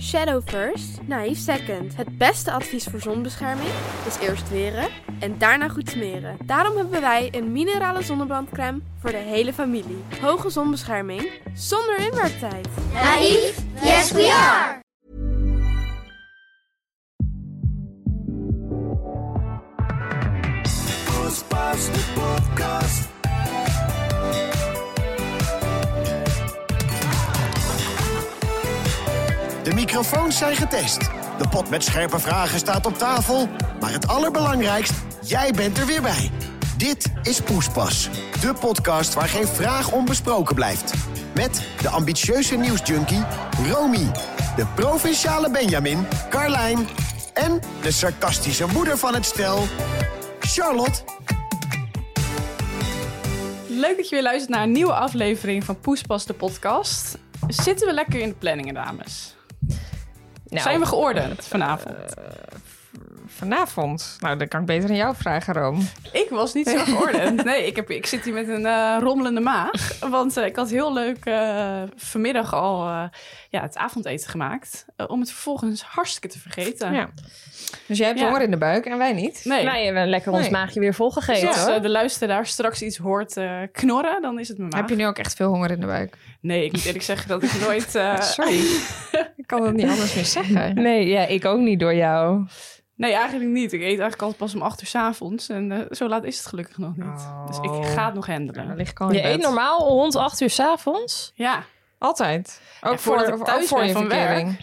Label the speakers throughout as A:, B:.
A: Shadow first, naïef second. Het beste advies voor zonbescherming is eerst weren en daarna goed smeren. Daarom hebben wij een minerale zonnebrandcrème voor de hele familie. Hoge zonbescherming zonder inwerktijd.
B: Naïef? Yes, we are!
C: Poespas de podcast. De microfoons zijn getest. De pot met scherpe vragen staat op tafel. Maar het allerbelangrijkst, jij bent er weer bij. Dit is Poespas, de podcast waar geen vraag onbesproken blijft. Met de ambitieuze nieuwsjunkie Romy, de provinciale Benjamin Carlijn en de sarcastische moeder van het stel Charlotte.
D: Leuk dat je weer luistert naar een nieuwe aflevering van Poespas de podcast. Zitten we lekker in de planningen, dames?
E: Nou,
D: Zijn we geordend vanavond?
E: vanavond? Nou, dan kan ik beter aan jou vragen, Room.
D: Ik was niet zo geordend. Nee, ik, heb, ik zit hier met een eh, rommelende maag. Want eh, ik had heel leuk eh, vanmiddag al eh, ja, het avondeten gemaakt. eh, om het vervolgens hartstikke te vergeten.
E: Ja. Dus jij hebt
D: Ja.
E: honger in de buik en wij niet.
D: Nee.
F: Wij hebben lekker ons
E: Nee.
F: maagje weer
D: Dus
F: volgegeten
D: als
F: hoor.
D: eh, de luisteraar straks iets hoort eh, knorren, dan is het mijn maag.
E: Heb je nu ook echt veel honger in de buik?
D: Nee, ik moet eerlijk zeggen dat ik nooit... eh,
E: Sorry. ik kan dat niet anders meer zeggen.
F: Nee, ja, ik ook niet door jou.
D: Nee, eigenlijk niet. Ik eet eigenlijk altijd pas om acht uur 's avonds. En eh, zo laat is het gelukkig nog niet. Dus ik
E: Oh.
D: ga het nog handelen.
E: Dan lig ik al in
F: Je
E: bed.
F: eet normaal rond 8 uur 's avonds.
D: Ja,
E: Altijd. Ook
D: Ja,
E: voor,
D: voordat ik thuis
E: ook voor
D: ben
E: je
D: van werk.
E: verkering.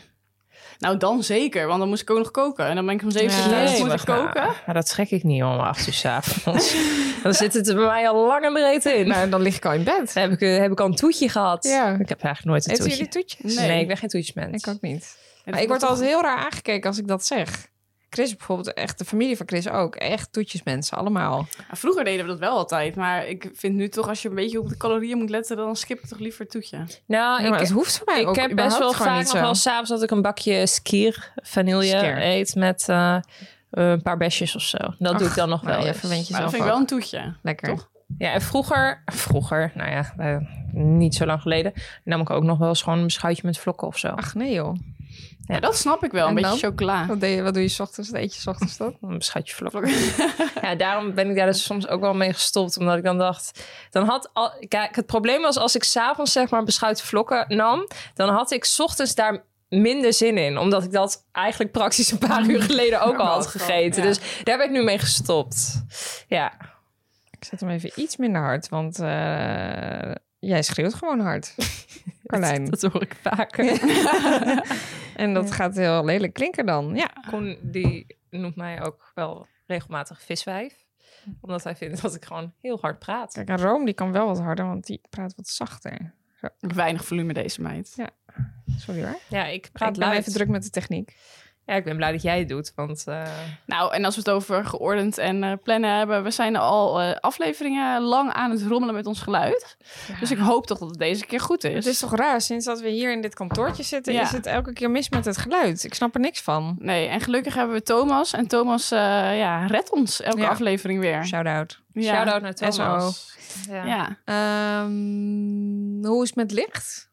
D: nou dan zeker, want dan moest ik ook nog koken. En dan ben ik om zeven uur
E: Ja,
D: thuis,
E: nee,
D: moet ik koken.
F: Maar dat trek ik niet om 8 uur 's avonds. Dan zit het er bij mij al lang en breed in.
E: Nou, dan lig ik al in bed.
F: Dan heb ik, eh, heb ik al een toetje gehad.
E: Ja.
F: Ik heb eigenlijk nooit een
E: Eten
F: toetje.
E: jullie toetjes?
F: Nee.
D: Nee.
F: ik ben geen toetjesmens.
E: Ik ook niet.
D: En
E: Maar ik word altijd heel raar aangekeken als ik dat zeg. Chris bijvoorbeeld, echt de familie van Chris ook. Echt toetjesmensen, allemaal.
D: Ja, Vroeger deden we dat wel altijd. Maar ik vind nu toch, als je een beetje op de calorieën moet letten... dan skip ik toch liever het toetje.
F: Nou,
E: Ja, maar
F: ik,
E: het hoeft voor mij
F: ik
E: ook
F: heb best
E: überhaupt
F: wel
E: gewoon
F: vaak
E: niet
F: nog
E: zo.
F: wel s'avonds dat ik een bakje skier vanille
E: Skier.
F: eet met eh, een paar besjes of zo. Dat doe ik dan nog
E: nou,
F: wel.
E: je
F: eens.
E: verwent je
D: Maar dat vind
E: Zelf
D: ik wel een toetje.
E: Lekker.
D: Toch?
F: Ja, en vroeger, vroeger, nou ja, eh, niet zo lang geleden, nam ik ook nog wel eens gewoon een schuitje met vlokken of zo.
E: Ach nee joh.
D: Ja, dat snap ik wel. Een
E: En Oh.
D: beetje chocola.
E: Wat, deed je, wat doe je 's ochtends? Wat eet je 's ochtends dan?
F: Een schuitje vlokken. ja, daarom ben ik daar dus soms ook wel mee gestopt, omdat ik dan dacht, dan had al, kijk, het probleem was als ik s'avonds zeg maar beschuit vlokken nam, dan had ik 's ochtends daar minder zin in, omdat ik dat eigenlijk praktisch een paar uur geleden ook al had gegeten.
D: ja.
F: Dus daar ben ik nu mee gestopt. Ja,
E: Ik zet hem even iets minder hard, want eh, jij schreeuwt gewoon hard. Carlijn.
F: dat hoor ik vaker.
E: En dat gaat heel lelijk klinken dan. Ja,
F: Koen die noemt mij ook wel regelmatig viswijf. Omdat hij vindt dat ik gewoon heel hard praat.
E: kijk, en Room die kan wel wat harder, want die praat wat zachter.
D: Weinig volume deze meid.
E: Sorry hoor.
F: Ja, ik
E: ik
F: praat
E: ben
F: luid.
E: even druk met de techniek.
F: Ja, ik ben blij dat jij het doet, want... eh,
D: Nou, en als we het over geordend en eh, plannen hebben... we zijn al eh, afleveringen lang aan het rommelen met ons geluid. Dus ik hoop toch dat het deze keer goed is.
E: Het is toch raar, sinds dat we hier in dit kantoortje zitten,
D: Ja.
E: is het elke keer mis met het geluid. Ik snap er niks van.
D: Nee, en gelukkig hebben we Thomas. En Thomas eh, ja, redt ons elke
E: Ja.
D: aflevering weer.
E: Shout-out.
D: Ja.
F: Shout-out naar Thomas.
D: Ja.
E: Ehm, hoe is het met licht?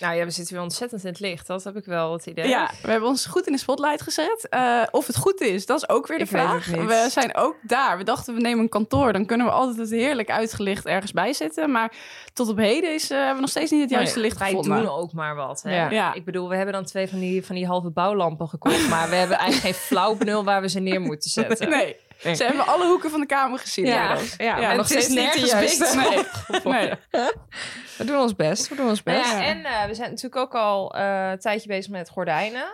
F: Nou ja, we zitten weer ontzettend in het licht. Dat heb ik wel het idee.
D: Ja, we hebben ons goed in de spotlight gezet. Eh, of het goed is, dat is ook weer de
E: Ik weet
D: vraag.
E: het niet.
D: We zijn ook daar. We dachten, we nemen een kantoor. Dan kunnen we altijd het heerlijk uitgelicht ergens bij zitten. Maar tot op heden is, eh, hebben we nog steeds niet het juiste
F: Nee,
D: licht
F: wij
D: gevonden.
F: doen ook maar wat. Hè?
E: Ja.
D: Ja.
F: Ik bedoel, we hebben dan twee van die, van die halve bouwlampen gekocht. maar we hebben eigenlijk geen flauw benul waar we ze neer moeten zetten.
D: Nee.
E: Nee.
D: Ze hebben alle hoeken van de kamer gezien.
F: Ja.
D: inmiddels.
E: Ja,
D: en
F: nog steeds niet de juiste.
D: Nee. nee.
E: We doen ons best, we doen ons
F: Nou
E: best.
F: ja, en eh, we zijn natuurlijk ook al eh, een tijdje bezig met gordijnen.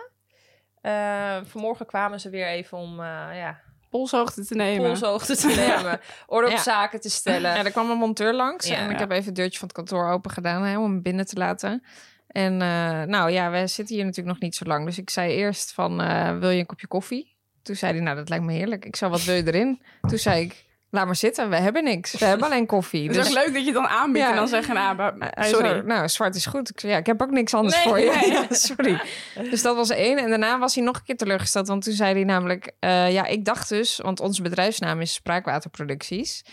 F: Eh, vanmorgen kwamen ze weer even om eh ja,
D: Polshoogte te nemen.
F: polshoogte te nemen, orde op
E: Ja.
F: zaken te stellen.
E: Ja, er kwam een monteur langs
F: Ja.
E: en ik heb even het deurtje van het kantoor open gedaan hè, om hem binnen te laten. En eh, nou ja, we zitten hier natuurlijk nog niet zo lang. Dus ik zei eerst van, eh, wil je een kopje koffie? Toen zei hij, nou dat lijkt me heerlijk. Ik zei, wat wil je erin? Toen zei ik, laat maar zitten, we hebben niks. We hebben alleen koffie. Dus-
D: Het is ook leuk dat je het dan aanbiedt
E: Ja.
D: en dan zeggen... Nou,
E: Hij-
D: maar-
E: hij
D: sorry.
E: zei, nou, zwart is goed. Ik zei, ja, ik heb ook niks anders
F: Nee,
E: voor je.
F: nee.
E: Ja, sorry. Dus dat was één. En daarna was hij nog een keer teleurgesteld. Want toen zei hij namelijk... eh, ja, ik dacht dus... Want onze bedrijfsnaam is Spraakwaterproducties.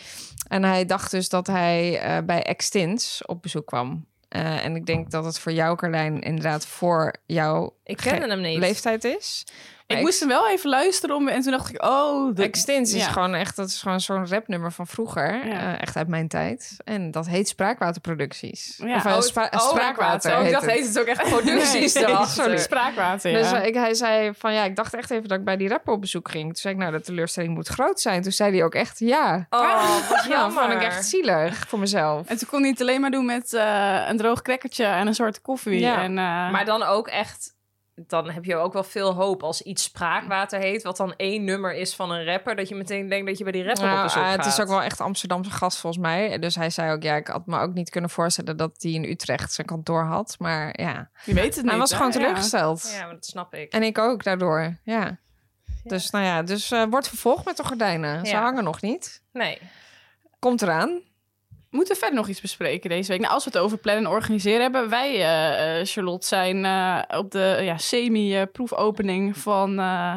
E: En hij dacht dus dat hij eh, bij Extins op bezoek kwam. Eh, en ik denk dat het voor jou, Carlijn, inderdaad voor jouw
F: Ik
E: ge-
F: kende hem niet.
E: leeftijd is.
D: Ik
E: Maar
D: moest hem wel even luisteren om, en toen dacht ik, oh... dat-
E: Extins is
D: ja.
E: gewoon echt, dat is gewoon zo'n rapnummer van vroeger.
D: Ja.
E: eh, echt uit mijn tijd. En dat heet Spraakwaterproducties.
D: Ja.
E: Of eh,
D: Oh,
E: spra-
F: Oh,
E: Spraakwater
F: Oh, ik
E: heet
F: dacht,
E: het.
F: heet het ook echt
D: Nee,
F: producties erachter.
D: sorry. Spraakwater, ja.
E: Dus eh, ik, hij zei van ja, ik dacht echt even dat ik bij die rapper op bezoek ging. Toen zei ik nou, de teleurstelling moet groot zijn. Toen zei hij ook echt ja.
F: Oh, wat
E: Ja,
F: jammer.
E: vond ik echt zielig voor mezelf.
D: En toen kon hij het alleen maar doen met eh, een droog crackertje en een zwarte koffie.
E: Ja.
D: En, eh,
F: Maar dan ook echt... Dan heb je ook wel veel hoop als iets spraakwater heet... wat dan één nummer is van een rapper... dat je meteen denkt dat je bij die rapper op
E: Nou,
F: bezoek
E: eh, het is
F: gaat.
E: ook wel echt Amsterdamse gast volgens mij. Dus hij zei ook ja, ik had me ook niet kunnen voorstellen dat hij in Utrecht zijn kantoor had. Maar ja,
D: je weet het niet.
E: hij was
D: hè?
E: gewoon
D: Ja.
E: teleurgesteld.
F: Ja, maar dat snap ik.
E: En ik ook daardoor, ja. Dus nou ja, dus eh, wordt vervolgd met de gordijnen. Ze
F: Ja.
E: hangen nog niet.
F: Nee.
E: Komt eraan.
D: Moeten we verder nog iets bespreken deze week? Nou, als we het over plannen en organiseren hebben. Wij, eh, eh, Charlotte, zijn eh, op de ja, semi-proefopening van eh,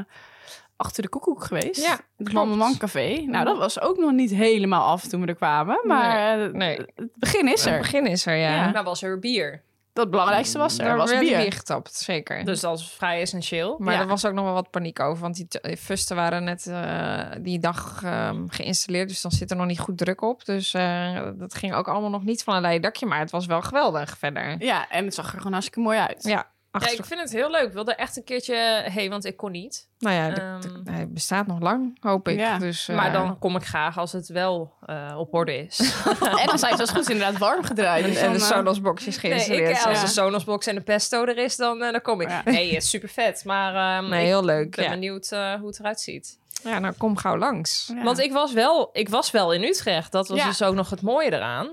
D: Achter de Koekoek geweest.
E: Ja,
D: het
E: klopt.
D: Man Man Café. Nou, dat was ook nog niet helemaal af toen we er kwamen. Maar eh,
E: nee.
D: het begin is
E: Het
D: er.
E: begin is er, ja.
D: Ja.
F: Nou was er bier.
D: Dat belangrijkste was er.
E: Er
D: was
E: werd
D: bier.
E: getapt, zeker.
F: Dus dat is vrij essentieel.
E: Maar
D: Ja.
E: er was ook nog wel wat paniek over, want die t- fusten waren net eh, die dag ehm, geïnstalleerd, dus dan zit er nog niet goed druk op. Dus eh, dat ging ook allemaal nog niet van een leien dakje, maar het was wel geweldig verder.
D: Ja, en het zag er gewoon hartstikke mooi uit.
E: Ja,
F: Ja,
E: achter,
F: ik vind het heel leuk. Ik wilde echt een keertje... Hé, hey, want ik kon niet.
E: nou ja, de- de-
F: Ehm.
E: hij bestaat nog lang, hoop ik.
D: Ja,
E: dus, eh,
F: Maar dan kom ik graag als het wel eh, op orde is.
D: En dan zijn ze als goed inderdaad warm gedraaid.
E: en,
D: Dus
E: en
D: dan,
E: de
D: eh,
E: Sonos-box is
F: Nee, ik,
E: geïnstalleerd.
F: eh, als
E: ja.
F: de Sonosbox en de pesto er is, dan, eh, dan kom ik.
D: Ja.
F: Nee, het is super vet. Maar ehm,
E: Nee,
F: ik
E: heel leuk.
F: ben
E: Ja.
F: benieuwd eh, hoe het eruit ziet.
E: ja, nou kom gauw langs.
D: ja.
F: Want ik was, wel, ik was wel in Utrecht. Dat was
D: Ja.
F: dus ook nog het mooie eraan.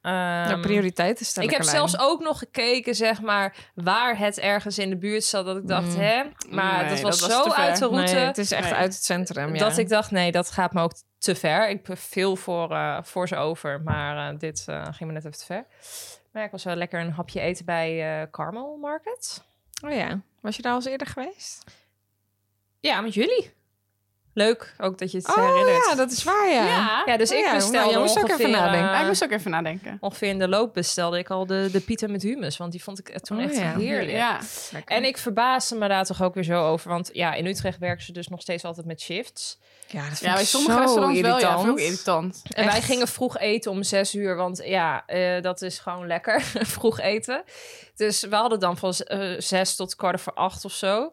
E: De
F: Ehm,
E: prioriteiten stellen.
F: ik heb
E: Carlijn.
F: zelfs ook nog gekeken, zeg maar, waar het ergens in de buurt zat. Dat ik dacht,
E: Mm.
F: hè? Maar
D: Nee,
F: dat was
D: dat was
F: zo
D: te ver.
F: uit de route.
E: Nee, het is echt
D: Nee.
E: uit het centrum. Ja.
F: Dat ik dacht, nee, dat gaat me ook te ver. Ik heb veel voor, eh, voor ze over, maar eh, dit eh, ging me net even te ver. Maar ik was wel lekker een hapje eten bij eh Carmel Market.
E: Oh ja, was je daar al eens eerder geweest?
F: Ja, met jullie. Leuk, ook dat je het eh,
E: Oh
F: herinnert.
E: ja, dat is waar, ja.
D: Ja.
F: Ja, dus
E: Oh
F: ik
E: ja, nou,
F: bestelde
E: jij moest ook
F: ongeveer,
E: even nadenken.
F: eh,
D: Daar moest ik ook even nadenken.
F: ongeveer in de loop bestelde ik al de, de pita met hummus. Want die vond ik eh, toen
E: Oh
F: echt
E: ja.
F: heerlijk.
D: Ja.
F: En ik verbaasde me daar toch ook weer zo over. Want ja, in Utrecht werken ze dus nog steeds altijd met shifts.
E: Ja, dat vind
D: Ja,
E: ik
D: bij sommige
E: zo
D: restaurants wel. Ja,
E: irritant.
D: vind ik ook irritant.
F: En wij
E: Echt.
F: gingen vroeg eten om zes uur, want ja, eh, dat is gewoon lekker, vroeg eten. Dus we hadden dan van z- eh, zes tot kwart voor acht of zo.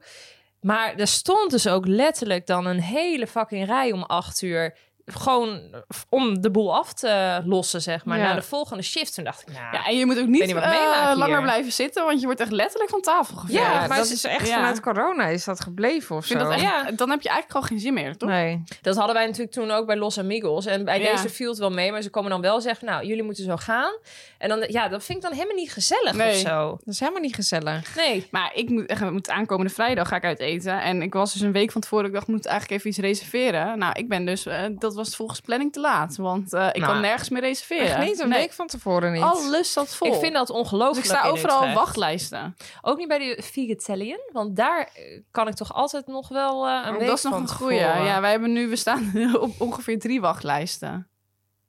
F: Maar er stond dus ook letterlijk dan een hele fucking rij om acht uur. Gewoon om de boel af te lossen, zeg maar.
E: Ja.
F: Naar de volgende shift. Toen dacht ik, nou...
D: Ja, en je moet ook niet,
F: niet wat
D: eh,
F: meemaken hier.
D: langer blijven zitten, want je wordt echt letterlijk van tafel geveegd.
E: Ja,
F: Ja,
E: maar
F: dat
E: het is echt
D: ja.
E: vanuit corona is dat gebleven of
D: Ik
E: zo.
D: vind dat echt-
F: Ja.
D: Dan heb je eigenlijk al geen zin meer, toch?
E: nee.
F: Dat hadden wij natuurlijk toen ook bij Los Amigos. En bij
D: Ja.
F: deze viel het wel mee, maar ze komen dan wel zeggen... nou, jullie moeten zo gaan. En dan, ja, dat vind ik dan helemaal niet gezellig
D: Nee.
F: of zo.
E: Dat is helemaal niet gezellig.
F: Nee.
D: Maar ik moet, echt, moet aankomende vrijdag ga ik uit eten. En ik was dus een week van tevoren, ik dacht, ik moet eigenlijk even iets reserveren. Nou, ik ben dus, eh, dat was volgens planning te laat. Want eh, ik
F: Nou,
D: kan nergens meer reserveren.
E: Echt niet, een
D: Nee,
E: week van tevoren niet.
D: Alles zat vol.
F: Ik vind dat
D: dus
F: ongelooflijk.
D: ik sta
F: in
D: overal op
F: Utrecht.
D: wachtlijsten.
F: Ook niet bij de Vegetalian, want daar eh, kan ik toch altijd nog wel eh, een week
D: Oh, dat is nog
F: van eh.
D: een goeie.
F: tevoren.
D: Ja, wij hebben nu, we staan op ongeveer drie wachtlijsten.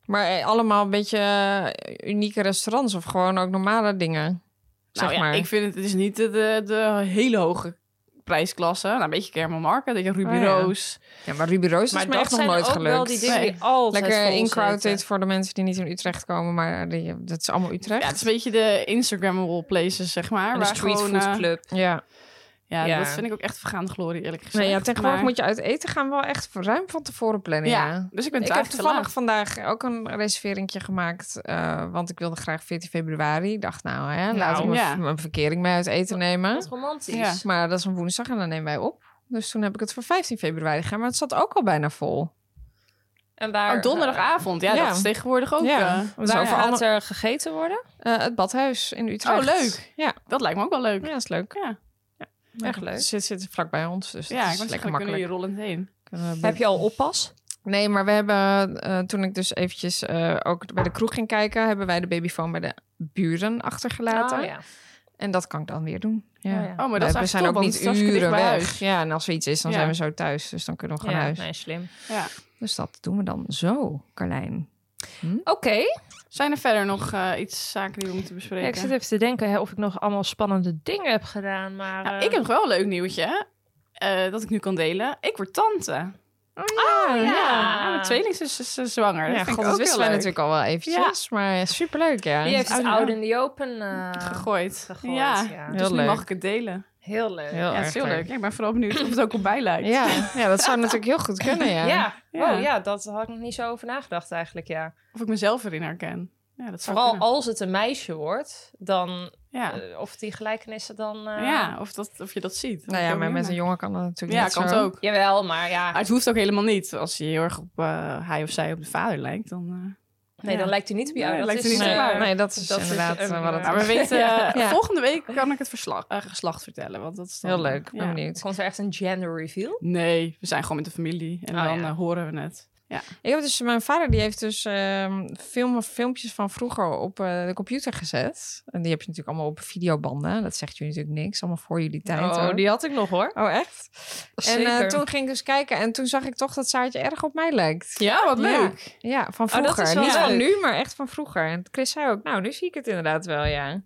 E: Maar eh, allemaal een beetje eh, unieke restaurants of gewoon ook normale dingen. Zeg
D: nou, ja,
E: maar.
D: Ik vind het, het is niet de, de, de hele hoge prijsklasse. Nou, een beetje Kermel Market, dat je Ruby
E: Oh, ja.
D: Roos.
E: Ja, maar Ruby Rose
F: maar
E: is me
F: dat
E: echt nog
F: zijn
E: nooit
F: ook
E: gelukt.
F: wel die dingen
D: Nee.
F: die altijd
E: Lekker
F: vol
E: incrowded
F: zitten.
E: voor de mensen die niet in Utrecht komen, maar die, dat is allemaal Utrecht.
D: Ja, het is een beetje de Instagrammable places, zeg maar.
F: En de
D: waar
F: street
D: gewoon,
F: food
D: eh,
F: club.
E: Ja.
D: ja,
F: Ja.
D: dat vind ik ook echt vergaande glorie, eerlijk gezegd.
E: Nee, ja, tegenwoordig
D: Maar-
E: moet je uit eten gaan wel echt ruim van tevoren plannen.
D: Ja,
E: ja.
D: dus ik ben
E: Ik heb
D: eigenlijk te laat.
E: toevallig vandaag ook een reserveringje gemaakt. eh, want ik wilde graag 14 februari. Ik dacht, nou, hè, laten we
D: ja.
E: mijn verkering mee uit eten nemen.
F: Wat romantisch.
D: Ja.
E: Maar dat is een woensdag en dan nemen wij op. Dus toen heb ik het voor 15 februari gegaan. Maar het zat ook al bijna vol.
F: En waar eh,
D: Oh, donderdagavond. Ja,
E: Ja.
D: dat is tegenwoordig ook.
E: Ja.
D: eh,
E: Dus
D: daar-
E: over
F: Waar
D: ja,
F: gaat
E: ander-
F: er gegeten worden?
E: Eh, het badhuis in Utrecht.
D: Oh, leuk.
E: Ja,
D: Dat lijkt me ook wel leuk.
E: ja dat is leuk.
D: Ja.
F: Echt leuk.
E: Het zit, zit vlak bij ons, dus
D: Ja,
E: dat
D: ik
E: is
D: was
E: lekker
D: lekker kunnen
E: makkelijk.
D: hier rollend heen.
E: Kunnen we-
F: Heb je al oppas?
E: Nee, maar we hebben, eh, toen ik dus eventjes eh, ook bij de kroeg ging kijken... hebben wij de babyfoon bij de buren achtergelaten.
F: Oh, ja.
E: En dat kan ik dan weer doen. Ja.
F: Oh, ja.
D: Oh, maar
E: Wij-
D: dat is
E: we
D: echt
E: zijn
D: top,
E: ook
D: want het
E: niet
D: is hartstikke dicht
E: uren
D: bij
E: weg.
D: huis.
E: Ja, en als er iets is, dan
D: Ja.
E: zijn we zo thuis. Dus dan kunnen we gewoon
F: Ja,
E: naar huis.
F: nee, slim.
D: Ja.
E: Dus dat doen we dan zo, Carlijn.
F: Oké,
D: Zijn er verder nog eh, iets zaken die we moeten bespreken?
F: Ja, ik zit even te denken hè, of ik nog allemaal spannende dingen heb gedaan. Maar
D: Nou,
F: eh,
D: ik heb nog wel een leuk nieuwtje eh, dat ik nu kan delen. Ik word tante.
F: ja.
D: Ja, mijn tweelingzus is eh, zwanger.
E: Ja,
D: dat vind
E: god,
D: ik
E: dat
D: ook
E: wisten
D: heel
E: wij
D: leuk.
E: natuurlijk al wel eventjes. Maar superleuk, ja.
F: die heeft het
D: oude-
F: oude in the open eh,
D: gegooid.
F: gegooid,
D: ja.
F: ja.
D: dus
E: Heel
D: nu
E: leuk.
D: mag ik het delen.
F: Heel leuk.
E: Heel
D: Ja, het is
E: erg
D: heel leuk. Ja, Ik ben vooral benieuwd of het ook op bij lijkt.
E: Ja, ja, dat zou natuurlijk heel goed kunnen, ja.
F: Ja.
D: Ja.
F: Wow, ja, dat had ik nog niet zo over nagedacht eigenlijk, ja.
D: Of ik mezelf erin herken. Ja, dat zou
F: Vooral
D: kunnen.
F: als het een meisje wordt, dan...
D: Ja.
F: eh, of die gelijkenissen dan... eh,
D: ja, of, dat, of je dat ziet.
E: Nou ja, maar met een jongen kan dat natuurlijk
D: Ja,
E: net
D: kan het
E: zo.
D: ook.
F: Jawel, maar ja.
D: Maar het hoeft ook helemaal niet. Als je heel erg op eh, hij of zij op de vader lijkt, dan... eh.
F: Nee,
D: Ja.
F: dan lijkt hij niet op jou.
D: Nee,
F: dat
D: lijkt
F: is,
D: hij niet op
F: eh,
D: jou.
E: Nee, dat is
F: Dat is
E: inderdaad
F: een-
E: eh, wat het
D: Maar we
E: is.
D: weten... eh,
E: Ja.
D: Volgende week kan ik het versla- eh, geslacht vertellen. Want dat is dan-
E: Heel leuk, ik ben
D: Ja.
E: benieuwd.
F: Komt er echt een gender reveal?
D: Nee, we zijn gewoon met de familie. En
F: Oh,
D: dan
F: ja.
D: eh, horen we het.
E: Ik heb dus, mijn vader die heeft dus ehm, film, filmpjes van vroeger op eh, de computer gezet. En die heb je natuurlijk allemaal op videobanden. Dat zegt jullie natuurlijk niks. Allemaal voor jullie
F: Oh.
E: tijd. hoor.
F: had ik nog hoor.
E: oh echt? En eh,
F: Zeker.
E: toen ging ik dus kijken en toen zag ik toch dat Saartje erg op mij lijkt.
D: Ja, wat
E: Ja.
D: leuk.
E: Ja, van
F: Oh, dat
E: vroeger.
F: is wel
E: Niet van
F: leuk.
E: nu, maar echt van vroeger. En Chris zei ook, nou, nu zie ik het inderdaad wel, ja.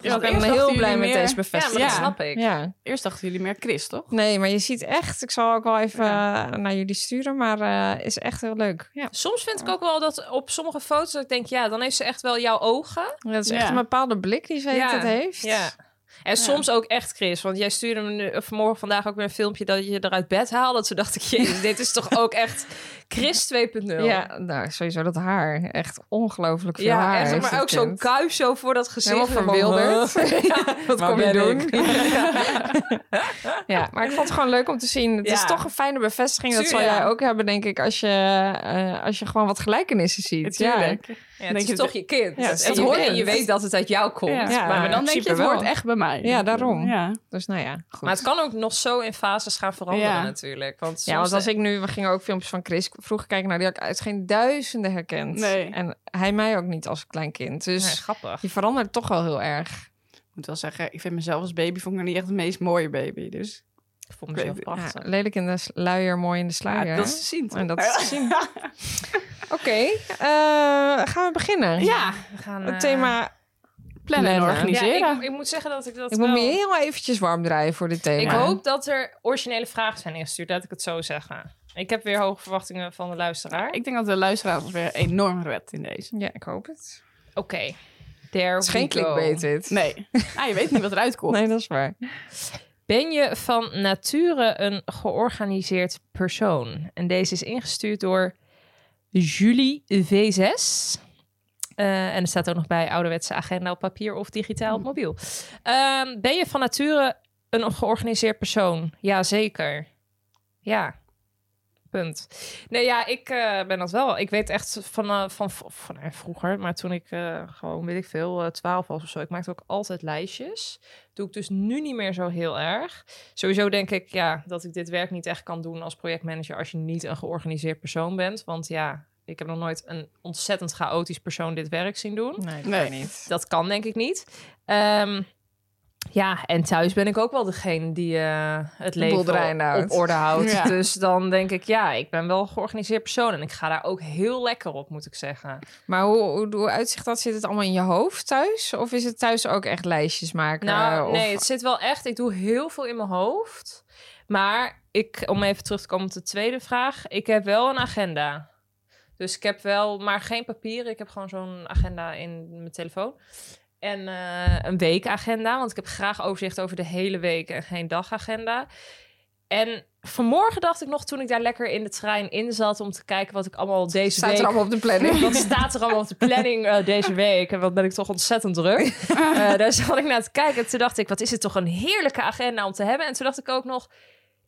E: Dus
D: want
E: ik ben
D: eerst dachten
E: heel
D: jullie
E: blij met
D: meer-
E: deze
F: Ja, maar
E: bevestiging.
F: dat snap ik.
E: Ja.
D: Eerst dachten jullie meer Chris, toch?
E: Nee, maar je ziet echt, ik zal ook wel even eh, naar jullie sturen, maar eh, is echt heel leuk. Ja,
F: Soms vind ik ook wel dat op sommige foto's dat ik denk, ja, dan heeft ze echt wel jouw ogen.
E: dat is
D: Ja.
E: echt een bepaalde blik die ze
F: Ja,
E: het heeft.
F: En soms ook echt Chris, want jij stuurde me nu- eh, vanmorgen vandaag ook weer een filmpje dat je je eruit bed haalde. Toen dacht ik, jezus, dit is toch ook echt Chris 2.0.
E: Ja, nou, sowieso dat haar. Echt ongeloonlijk veel haar.
F: Ja, echt,
E: heeft
F: maar
E: dat
F: ook zo'n
E: kind.
F: kuif zo voor dat gezicht.
E: Helemaal verwilderd.
F: Ja,
E: Wat kom je
F: ben
E: doen? ja, maar ik vond het gewoon leuk om te zien. Het
F: Ja.
E: is toch een fijne bevestiging. Dat
F: Tuurlijk.
E: zal jij ook hebben, denk ik, als je, eh, als je gewoon wat gelijkenissen ziet. Ja.
D: Tuurlijk.
F: Ja,
D: Denk
F: het
D: je
F: is toch je kind.
E: Ja, het is
F: en, je,
E: toch je
F: en
E: kind.
F: je weet dat het uit jou komt.
D: Ja.
E: Ja,
F: maar,
D: Maar dan denk je,
E: in principe
D: het hoort
E: wel.
D: echt bij mij.
E: Ja, daarom.
D: Ja.
E: Dus nou ja, goed.
F: maar het kan ook nog zo in fases gaan veranderen
D: Ja.
F: natuurlijk. Want
E: Ja, want als ik nu, we gingen ook filmpjes van Chris vroeger kijken naar die had ik uit geen duizenden herkend.
D: Nee.
E: En hij mij ook niet als klein kind. Dus
F: grappig.
E: je verandert toch wel heel erg.
D: Ik moet wel zeggen, ik vind mezelf als baby vond ik nog niet echt de meest mooie baby. Dus
F: Ik vond mezelf
D: weet-
E: Ja,
F: prachtig.
E: lelijk in de s- luier, mooi in de sluier.
D: ja, dat is te zien. toch?
E: En dat is te zien. Oké, eh, gaan we beginnen?
D: Ja,
F: We gaan, eh,
E: Het thema,
D: plannen en
E: Plannen.
D: organiseren.
F: Ja, ik, ik moet zeggen dat ik dat
E: ik
F: wel...
E: moet me heel eventjes warm draaien voor dit thema.
F: Ik hoop dat er originele vragen zijn ingestuurd, laat ik het zo zeggen. Ik heb weer hoge verwachtingen van de luisteraar.
D: Ik denk dat de luisteraar ons weer enorm redt in deze.
E: Ja, ik hoop het.
F: Oké, there
E: Het is geen
F: we go.
E: clickbait dit.
D: Nee, ah, je weet niet wat eruit komt.
E: Nee, dat is waar.
F: Ben je van nature een georganiseerd persoon? En deze is ingestuurd door Julie V6. Eh, en er staat ook nog bij ouderwetse agenda op papier of digitaal op
E: Hm.
F: mobiel. Ehm, ben je van nature een georganiseerd persoon? Jazeker. Ja. Punt. Nee, ja, ik eh, ben dat wel. Ik weet echt van, eh, van, v- van eh, vroeger, maar toen ik eh, gewoon, weet ik veel, eh, twaalf was of zo. Ik maakte ook altijd lijstjes doe ik dus nu niet meer zo heel erg. Sowieso denk ik ja, dat ik dit werk niet echt kan doen als projectmanager als je niet een georganiseerd persoon bent. Want ja, ik heb nog nooit een ontzettend chaotisch persoon dit werk zien doen.
E: Nee, dat
D: Nee.
E: kan niet.
F: Dat kan denk ik niet. Ehm, ja, en thuis ben ik ook wel degene die eh, het leven
E: boel draaiende
F: op,
E: houdt.
F: op orde houdt.
D: Ja.
F: Dus dan denk ik, ja, ik ben wel een georganiseerd persoon. En ik ga daar ook heel lekker op, moet ik zeggen.
E: Maar hoe, hoe, hoe uitzicht dat? Zit het allemaal in je hoofd thuis? Of is het thuis ook echt lijstjes maken?
F: Nou,
E: of...
F: nee, het zit wel echt. Ik doe heel veel in mijn hoofd. Maar ik, om even terug te komen op de tweede vraag. Ik heb wel een agenda. Dus ik heb wel, maar geen papier. Ik heb gewoon zo'n agenda in mijn telefoon. En eh, een weekagenda, want ik heb graag overzicht over de hele week en geen dagagenda. En vanmorgen dacht ik nog, toen ik daar lekker in de trein in zat, om te kijken wat ik allemaal deze
E: Staat
F: week
E: er allemaal op de planning?
F: wat staat er allemaal op de planning eh, deze week? En wat ben ik toch ontzettend druk. Eh, daar zat ik naar te kijken. En toen dacht ik, wat is het toch een heerlijke agenda om te hebben. En toen dacht ik ook nog,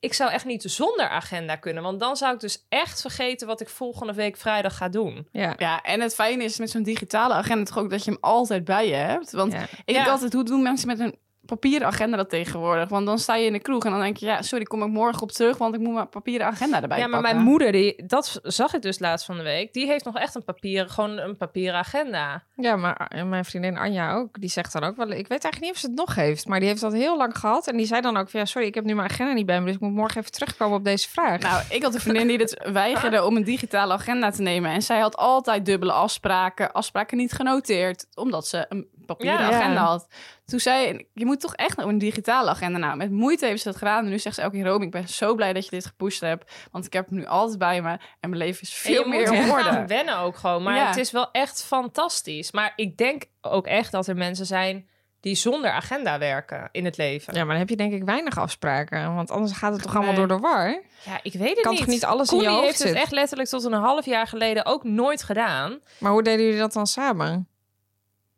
F: ik zou echt niet zonder agenda kunnen. Want dan zou ik dus echt vergeten wat ik volgende week vrijdag ga doen.
E: Ja.
D: Ja, en het fijne is met zo'n digitale agenda toch ook dat je hem altijd bij je hebt. Want
E: Ja.
D: ik denk
F: Ja.
D: altijd, hoe doen mensen met een papieren agenda dat tegenwoordig. Want dan sta je in de kroeg en dan denk je, ja, sorry, kom ik morgen op terug, want ik moet mijn papieren agenda erbij
F: Ja, maar
D: pakken.
F: mijn moeder, die, dat zag ik dus laatst van de week. Die heeft nog echt een papieren, gewoon een papieren agenda.
E: Ja, maar Ar- en mijn vriendin Anja ook, die zegt dan ook wel... Ik weet eigenlijk niet of ze het nog heeft, maar die heeft dat heel lang gehad. En die zei dan ook van, ja, sorry, ik heb nu mijn agenda niet bij me... dus ik moet morgen even terugkomen op deze vraag.
D: Nou, ik had een vriendin die het weigerde om een digitale agenda te nemen. En zij had altijd dubbele afspraken, afspraken niet genoteerd, omdat ze een papieren
F: Ja.
D: agenda had. Toen zei je moet toch echt een digitale agenda. Nou, met moeite heeft ze dat gedaan. En nu zegt ze elke keer, Rome, ik ben zo blij dat je dit gepusht hebt. Want ik heb hem nu altijd bij me en mijn leven is veel
F: En je
D: meer
F: moet
D: op
F: er
D: orde.
F: gaan wennen ook gewoon. Maar
D: Ja.
F: het is wel echt fantastisch. Maar ik denk ook echt dat er mensen zijn die zonder agenda werken in het leven.
E: Ja, maar dan heb je denk ik weinig afspraken. Want anders gaat het toch allemaal
D: Nee.
E: door de war?
F: Ja, ik weet het
E: Kan
F: niet.
E: toch niet alles in
F: Connie
E: je hoofd
F: heeft het
E: zitten?
F: echt letterlijk tot een half jaar geleden ook nooit gedaan.
E: Maar hoe deden jullie dat dan samen?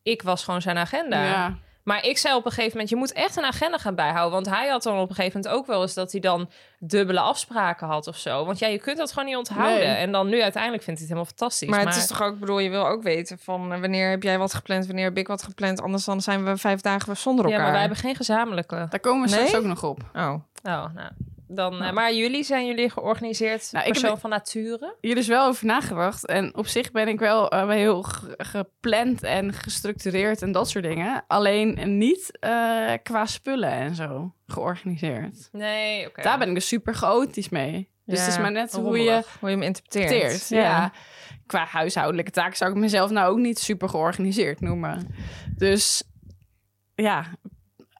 F: Ik was gewoon zijn agenda.
D: Ja.
F: Maar ik zei op een gegeven moment, je moet echt een agenda gaan bijhouden. Want hij had dan op een gegeven moment ook wel eens dat hij dan dubbele afspraken had of zo. Want ja, je kunt dat gewoon niet onthouden.
D: Nee.
F: En dan nu uiteindelijk vindt hij het helemaal fantastisch.
E: Maar het is toch ook, ik bedoel, je wil ook weten van... eh, wanneer heb jij wat gepland, wanneer heb ik wat gepland? Anders dan zijn we vijf dagen zonder
F: Ja,
E: elkaar.
F: maar wij hebben geen gezamenlijke.
D: Daar komen we straks
E: Nee?
D: ook nog op.
E: Oh,
F: Oh, nou. Dan, eh, maar jullie zijn jullie georganiseerd
D: Nou, ik heb-
F: persoon van nature?
D: hier dus wel over nagedacht. En op zich ben ik wel eh, heel ge- gepland en gestructureerd en dat soort dingen. Alleen niet eh, qua spullen en zo georganiseerd.
F: Nee, oké.
D: Daar ben ik dus super chaotisch mee. Dus
E: Ja, Oh,
D: het is maar net hoe je
F: rommelig.
E: hoe je hem interpreteert.
D: teert. Ja. Qua huishoudelijke taken zou ik mezelf nou ook niet super georganiseerd noemen. Dus ja,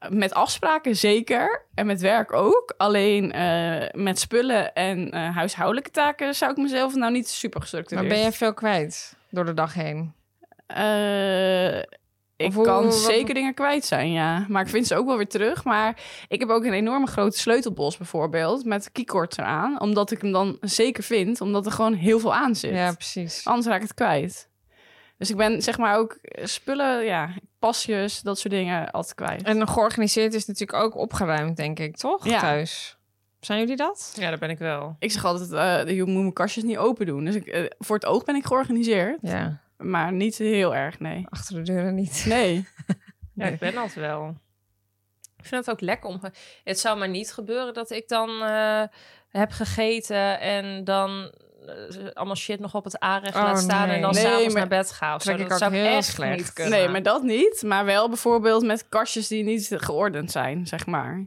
D: met afspraken zeker. En met werk ook. Alleen eh, met spullen en eh, huishoudelijke taken zou ik mezelf nou niet super
E: Maar
D: gestructureerd
E: ben je veel kwijt door de dag heen?
D: Eh, ik
E: Of hoe-
D: kan
E: wat-
D: zeker dingen kwijt zijn, ja. Maar ik vind ze ook wel weer terug. Maar ik heb ook een enorme grote sleutelbos bijvoorbeeld... met keycord eraan. Omdat ik hem dan zeker vind. Omdat er gewoon heel veel aan zit.
E: Ja, precies.
D: Anders raak ik het kwijt. Dus ik ben zeg maar ook eh, spullen, ja, pasjes, dat soort dingen altijd kwijt.
E: En georganiseerd is natuurlijk ook opgeruimd, denk ik, toch?
D: Ja.
E: Thuis. Zijn jullie dat?
F: Ja, daar ben ik wel.
D: Ik zeg altijd, eh, je moet mijn kastjes niet open doen. Dus ik, eh, voor het oog ben ik georganiseerd.
E: Ja,
D: Maar niet heel erg, nee.
E: achter de deuren niet.
D: Nee.
F: Ja, ik ben dat wel. Ik vind het ook lekker om... ge- Het zou maar niet gebeuren dat ik dan eh, heb gegeten en dan eh, allemaal shit nog op het aanrecht
E: Oh,
F: laat staan en dan
E: nee.
D: Nee,
F: s'avonds
D: maar-
F: naar bed ga of zo.
E: Trek ik
F: Dat
E: ook
F: zou ik
E: heel
F: echt
E: slecht.
F: niet kunnen.
D: Nee, maar dat niet. Maar wel bijvoorbeeld met kastjes die niet geordend zijn, zeg maar.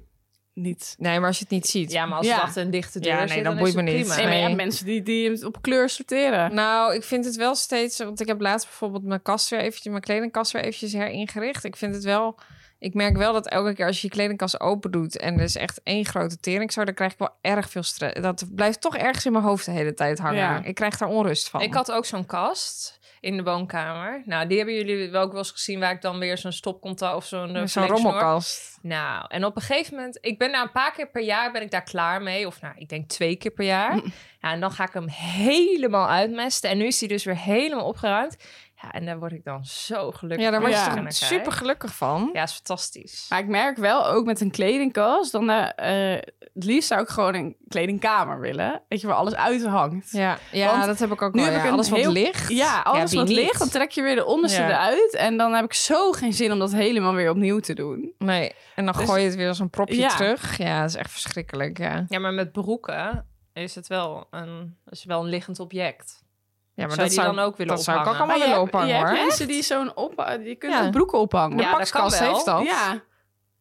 D: Niet.
E: Nee, maar als je het niet ziet.
F: Ja, maar als
D: Ja.
F: het achter een dichte deur
E: Ja, nee,
F: zit,
E: dan
F: dan
E: boeit
F: is het
E: me niet.
F: prima.
D: Nee, maar je
E: Nee.
D: hebt mensen die, die het op kleur sorteren.
E: Nou, ik vind het wel steeds, want ik heb laatst bijvoorbeeld mijn kast weer eventjes, mijn kledingkast weer eventjes heringericht. Ik vind het wel, ik merk wel dat elke keer als je je kledingkast open doet en er is echt één grote tering, zo, dan krijg ik wel erg veel stress. Dat blijft toch ergens in mijn hoofd de hele tijd hangen.
D: Ja.
E: Ik krijg daar onrust van.
F: Ik had ook zo'n kast in de woonkamer. Nou, die hebben jullie wel ook wel eens gezien... waar ik dan weer zo'n stopcontact of zo'n... eh,
E: zo'n
F: verlengsnoer-
E: rommelkast.
F: Nou, en op een gegeven moment, ik ben na een paar keer per jaar ben ik daar klaar mee. Of nou, ik denk twee keer per jaar.
E: Mm.
F: Ja, en dan ga ik hem helemaal uitmesten. En nu is hij dus weer helemaal opgeruimd. Ja, en daar word ik dan zo gelukkig
E: Ja, daar word je
D: Ja.
F: van.
E: toch super gelukkig van.
F: Ja, is fantastisch.
D: Maar ik merk wel ook met een kledingkast. Dan, eh, eh, het liefst zou ik gewoon een kledingkamer willen. Weet je, waar alles uit hangt.
E: Ja, ja
D: Want
E: dat heb ik ook
D: nu
E: wel.
D: heb
E: ja.
D: ik een
E: alles
D: heel-
E: wat ligt.
D: Ja, alles
E: wie
D: wat
E: niet?
D: ligt, dan trek je weer de onderste
E: Ja.
D: eruit. En dan heb ik zo geen zin om dat helemaal weer opnieuw te doen.
E: Nee, en dan
D: Dus-
E: gooi je het weer als een propje
D: Ja.
E: terug. Ja, dat is echt verschrikkelijk, ja.
F: Ja, maar met broeken is het wel een, is wel een liggend object.
E: Ja, maar
F: Zou je die dan ook willen
E: dat zou ik ook
F: ophangen?
E: allemaal willen
D: je hebt,
E: ophangen,
D: je hebt
E: hoor.
D: mensen die zo'n op... Die kunnen
E: Ja.
D: ook broeken ophangen.
F: Ja,
E: Mijn
F: dat
E: pakkast
F: kan wel.
E: heeft dat.
D: Ja.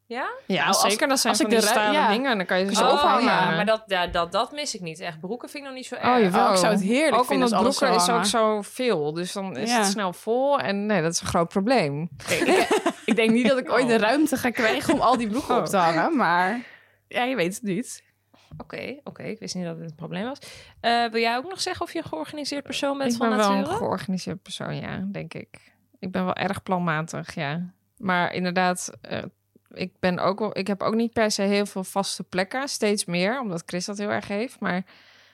F: Ja?
E: Ja,
D: Nou, als-
E: zeker. Dat zijn
D: als
E: van
D: ik
E: die
D: de rui-
E: stalen
D: ja.
E: dingen. En dan kan je ze zo
D: Oh,
E: ophangen.
D: ja,
F: maar dat, ja, dat, dat mis ik niet echt. Broeken vind ik nog niet zo erg.
E: Oh, jawel.
D: Oh, ik zou het heerlijk
E: ook
D: vinden
E: omdat
D: als alles
E: broeken
D: zou
E: is ook
D: hangen.
E: zo veel. Dus dan is
D: Ja.
E: het snel vol. En nee, dat is een groot probleem.
D: Ik denk niet dat ik ooit de ruimte ga krijgen om al die broeken
E: Oh.
D: op te hangen, maar ja, je weet het niet.
F: Oké, oké. Ik wist niet dat dit een probleem was. Eh, wil jij ook nog zeggen of je een georganiseerd persoon bent
E: ik
F: van
E: ben wel een
F: nature?
E: georganiseerd persoon, ja, denk ik. Ik ben wel erg planmatig, ja. Maar inderdaad, eh, ik, ben ook wel, ik heb ook niet per se heel veel vaste plekken. Steeds meer, omdat Chris dat heel erg heeft. Maar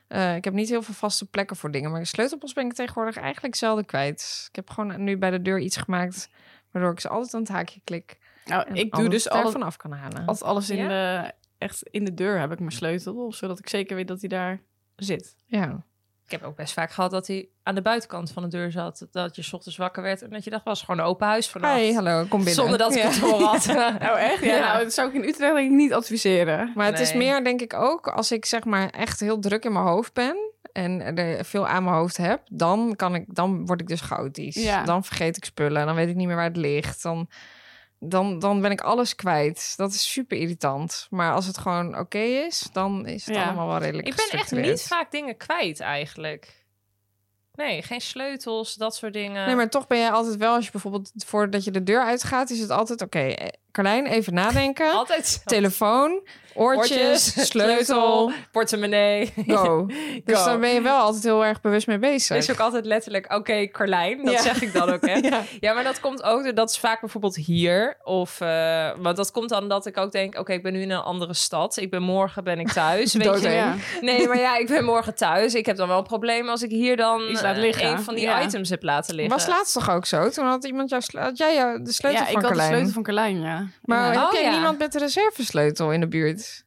E: eh, ik heb niet heel veel vaste plekken voor dingen. Maar de sleutelbos ben ik tegenwoordig eigenlijk zelden kwijt. Ik heb gewoon nu bij de deur iets gemaakt... waardoor ik ze altijd aan het haakje klik.
D: Nou,
E: en
D: ik doe
E: altijd
D: dus alles,
E: daarvan af kan halen.
D: als alles in,
F: Ja?
D: de, echt in de deur heb ik mijn sleutel, zodat ik zeker weet dat hij daar zit.
E: Ja.
F: Ik heb ook best vaak gehad dat hij aan de buitenkant van de deur zat. Dat je 's ochtends wakker werd en dat je dacht, was gewoon een open huis vannacht.
E: Hey, hallo, kom binnen.
F: Zonder dat ik
E: Ja.
F: het voor had.
D: Oh, echt? Ja,
F: Ja.
D: Nou, dat zou ik in Utrecht denk ik niet adviseren.
E: Maar het is
F: Nee.
E: meer, denk ik ook, als ik zeg maar echt heel druk in mijn hoofd ben en er veel aan mijn hoofd heb, dan kan ik, dan word ik dus chaotisch.
D: Ja.
E: Dan vergeet ik spullen, dan weet ik niet meer waar het ligt. Dan, dan, dan ben ik alles kwijt. Dat is super irritant. Maar als het gewoon oké is, dan is het
D: Ja.
E: allemaal wel redelijk.
F: Ik ben echt
E: gestructureerd.
F: niet vaak dingen kwijt eigenlijk. Nee, geen sleutels, dat soort dingen.
E: Nee, maar toch ben jij altijd wel, als je bijvoorbeeld voordat je de deur uitgaat, is het altijd oké. eh, Carlijn, even nadenken.
F: altijd
E: Telefoon, oortjes,
F: Oortjes,
E: sleutel,
F: portemonnee.
E: go. Dus
F: Go.
E: daar ben je wel altijd heel erg bewust mee bezig.
F: Dat is ook altijd letterlijk, oké, Carlijn. Dat
E: Ja.
F: zeg ik dan ook, hè?
E: Ja.
F: ja. maar dat komt ook, door- dat is vaak bijvoorbeeld hier. Of, eh, want dat komt dan dat ik ook denk, oké, ik ben nu in een andere stad. Ik ben morgen, ben ik thuis, weet je.
E: Doodeng.
D: Ja.
F: Nee, maar ja, ik ben morgen thuis. Ik heb dan wel een probleem als ik hier dan
D: Iets laat
F: eh,
D: liggen.
F: een van die
D: Ja.
F: items heb laten liggen.
E: Was laatst toch ook zo? Toen had iemand jouw sle- had jij jou, de sleutel
D: ja,
E: van
D: ik had de
E: Carlijn.
D: sleutel van Carlijn, ja.
E: Maar
D: Ja.
E: heb
F: Oh,
E: jij
F: ja.
E: niemand met de reservesleutel in de buurt?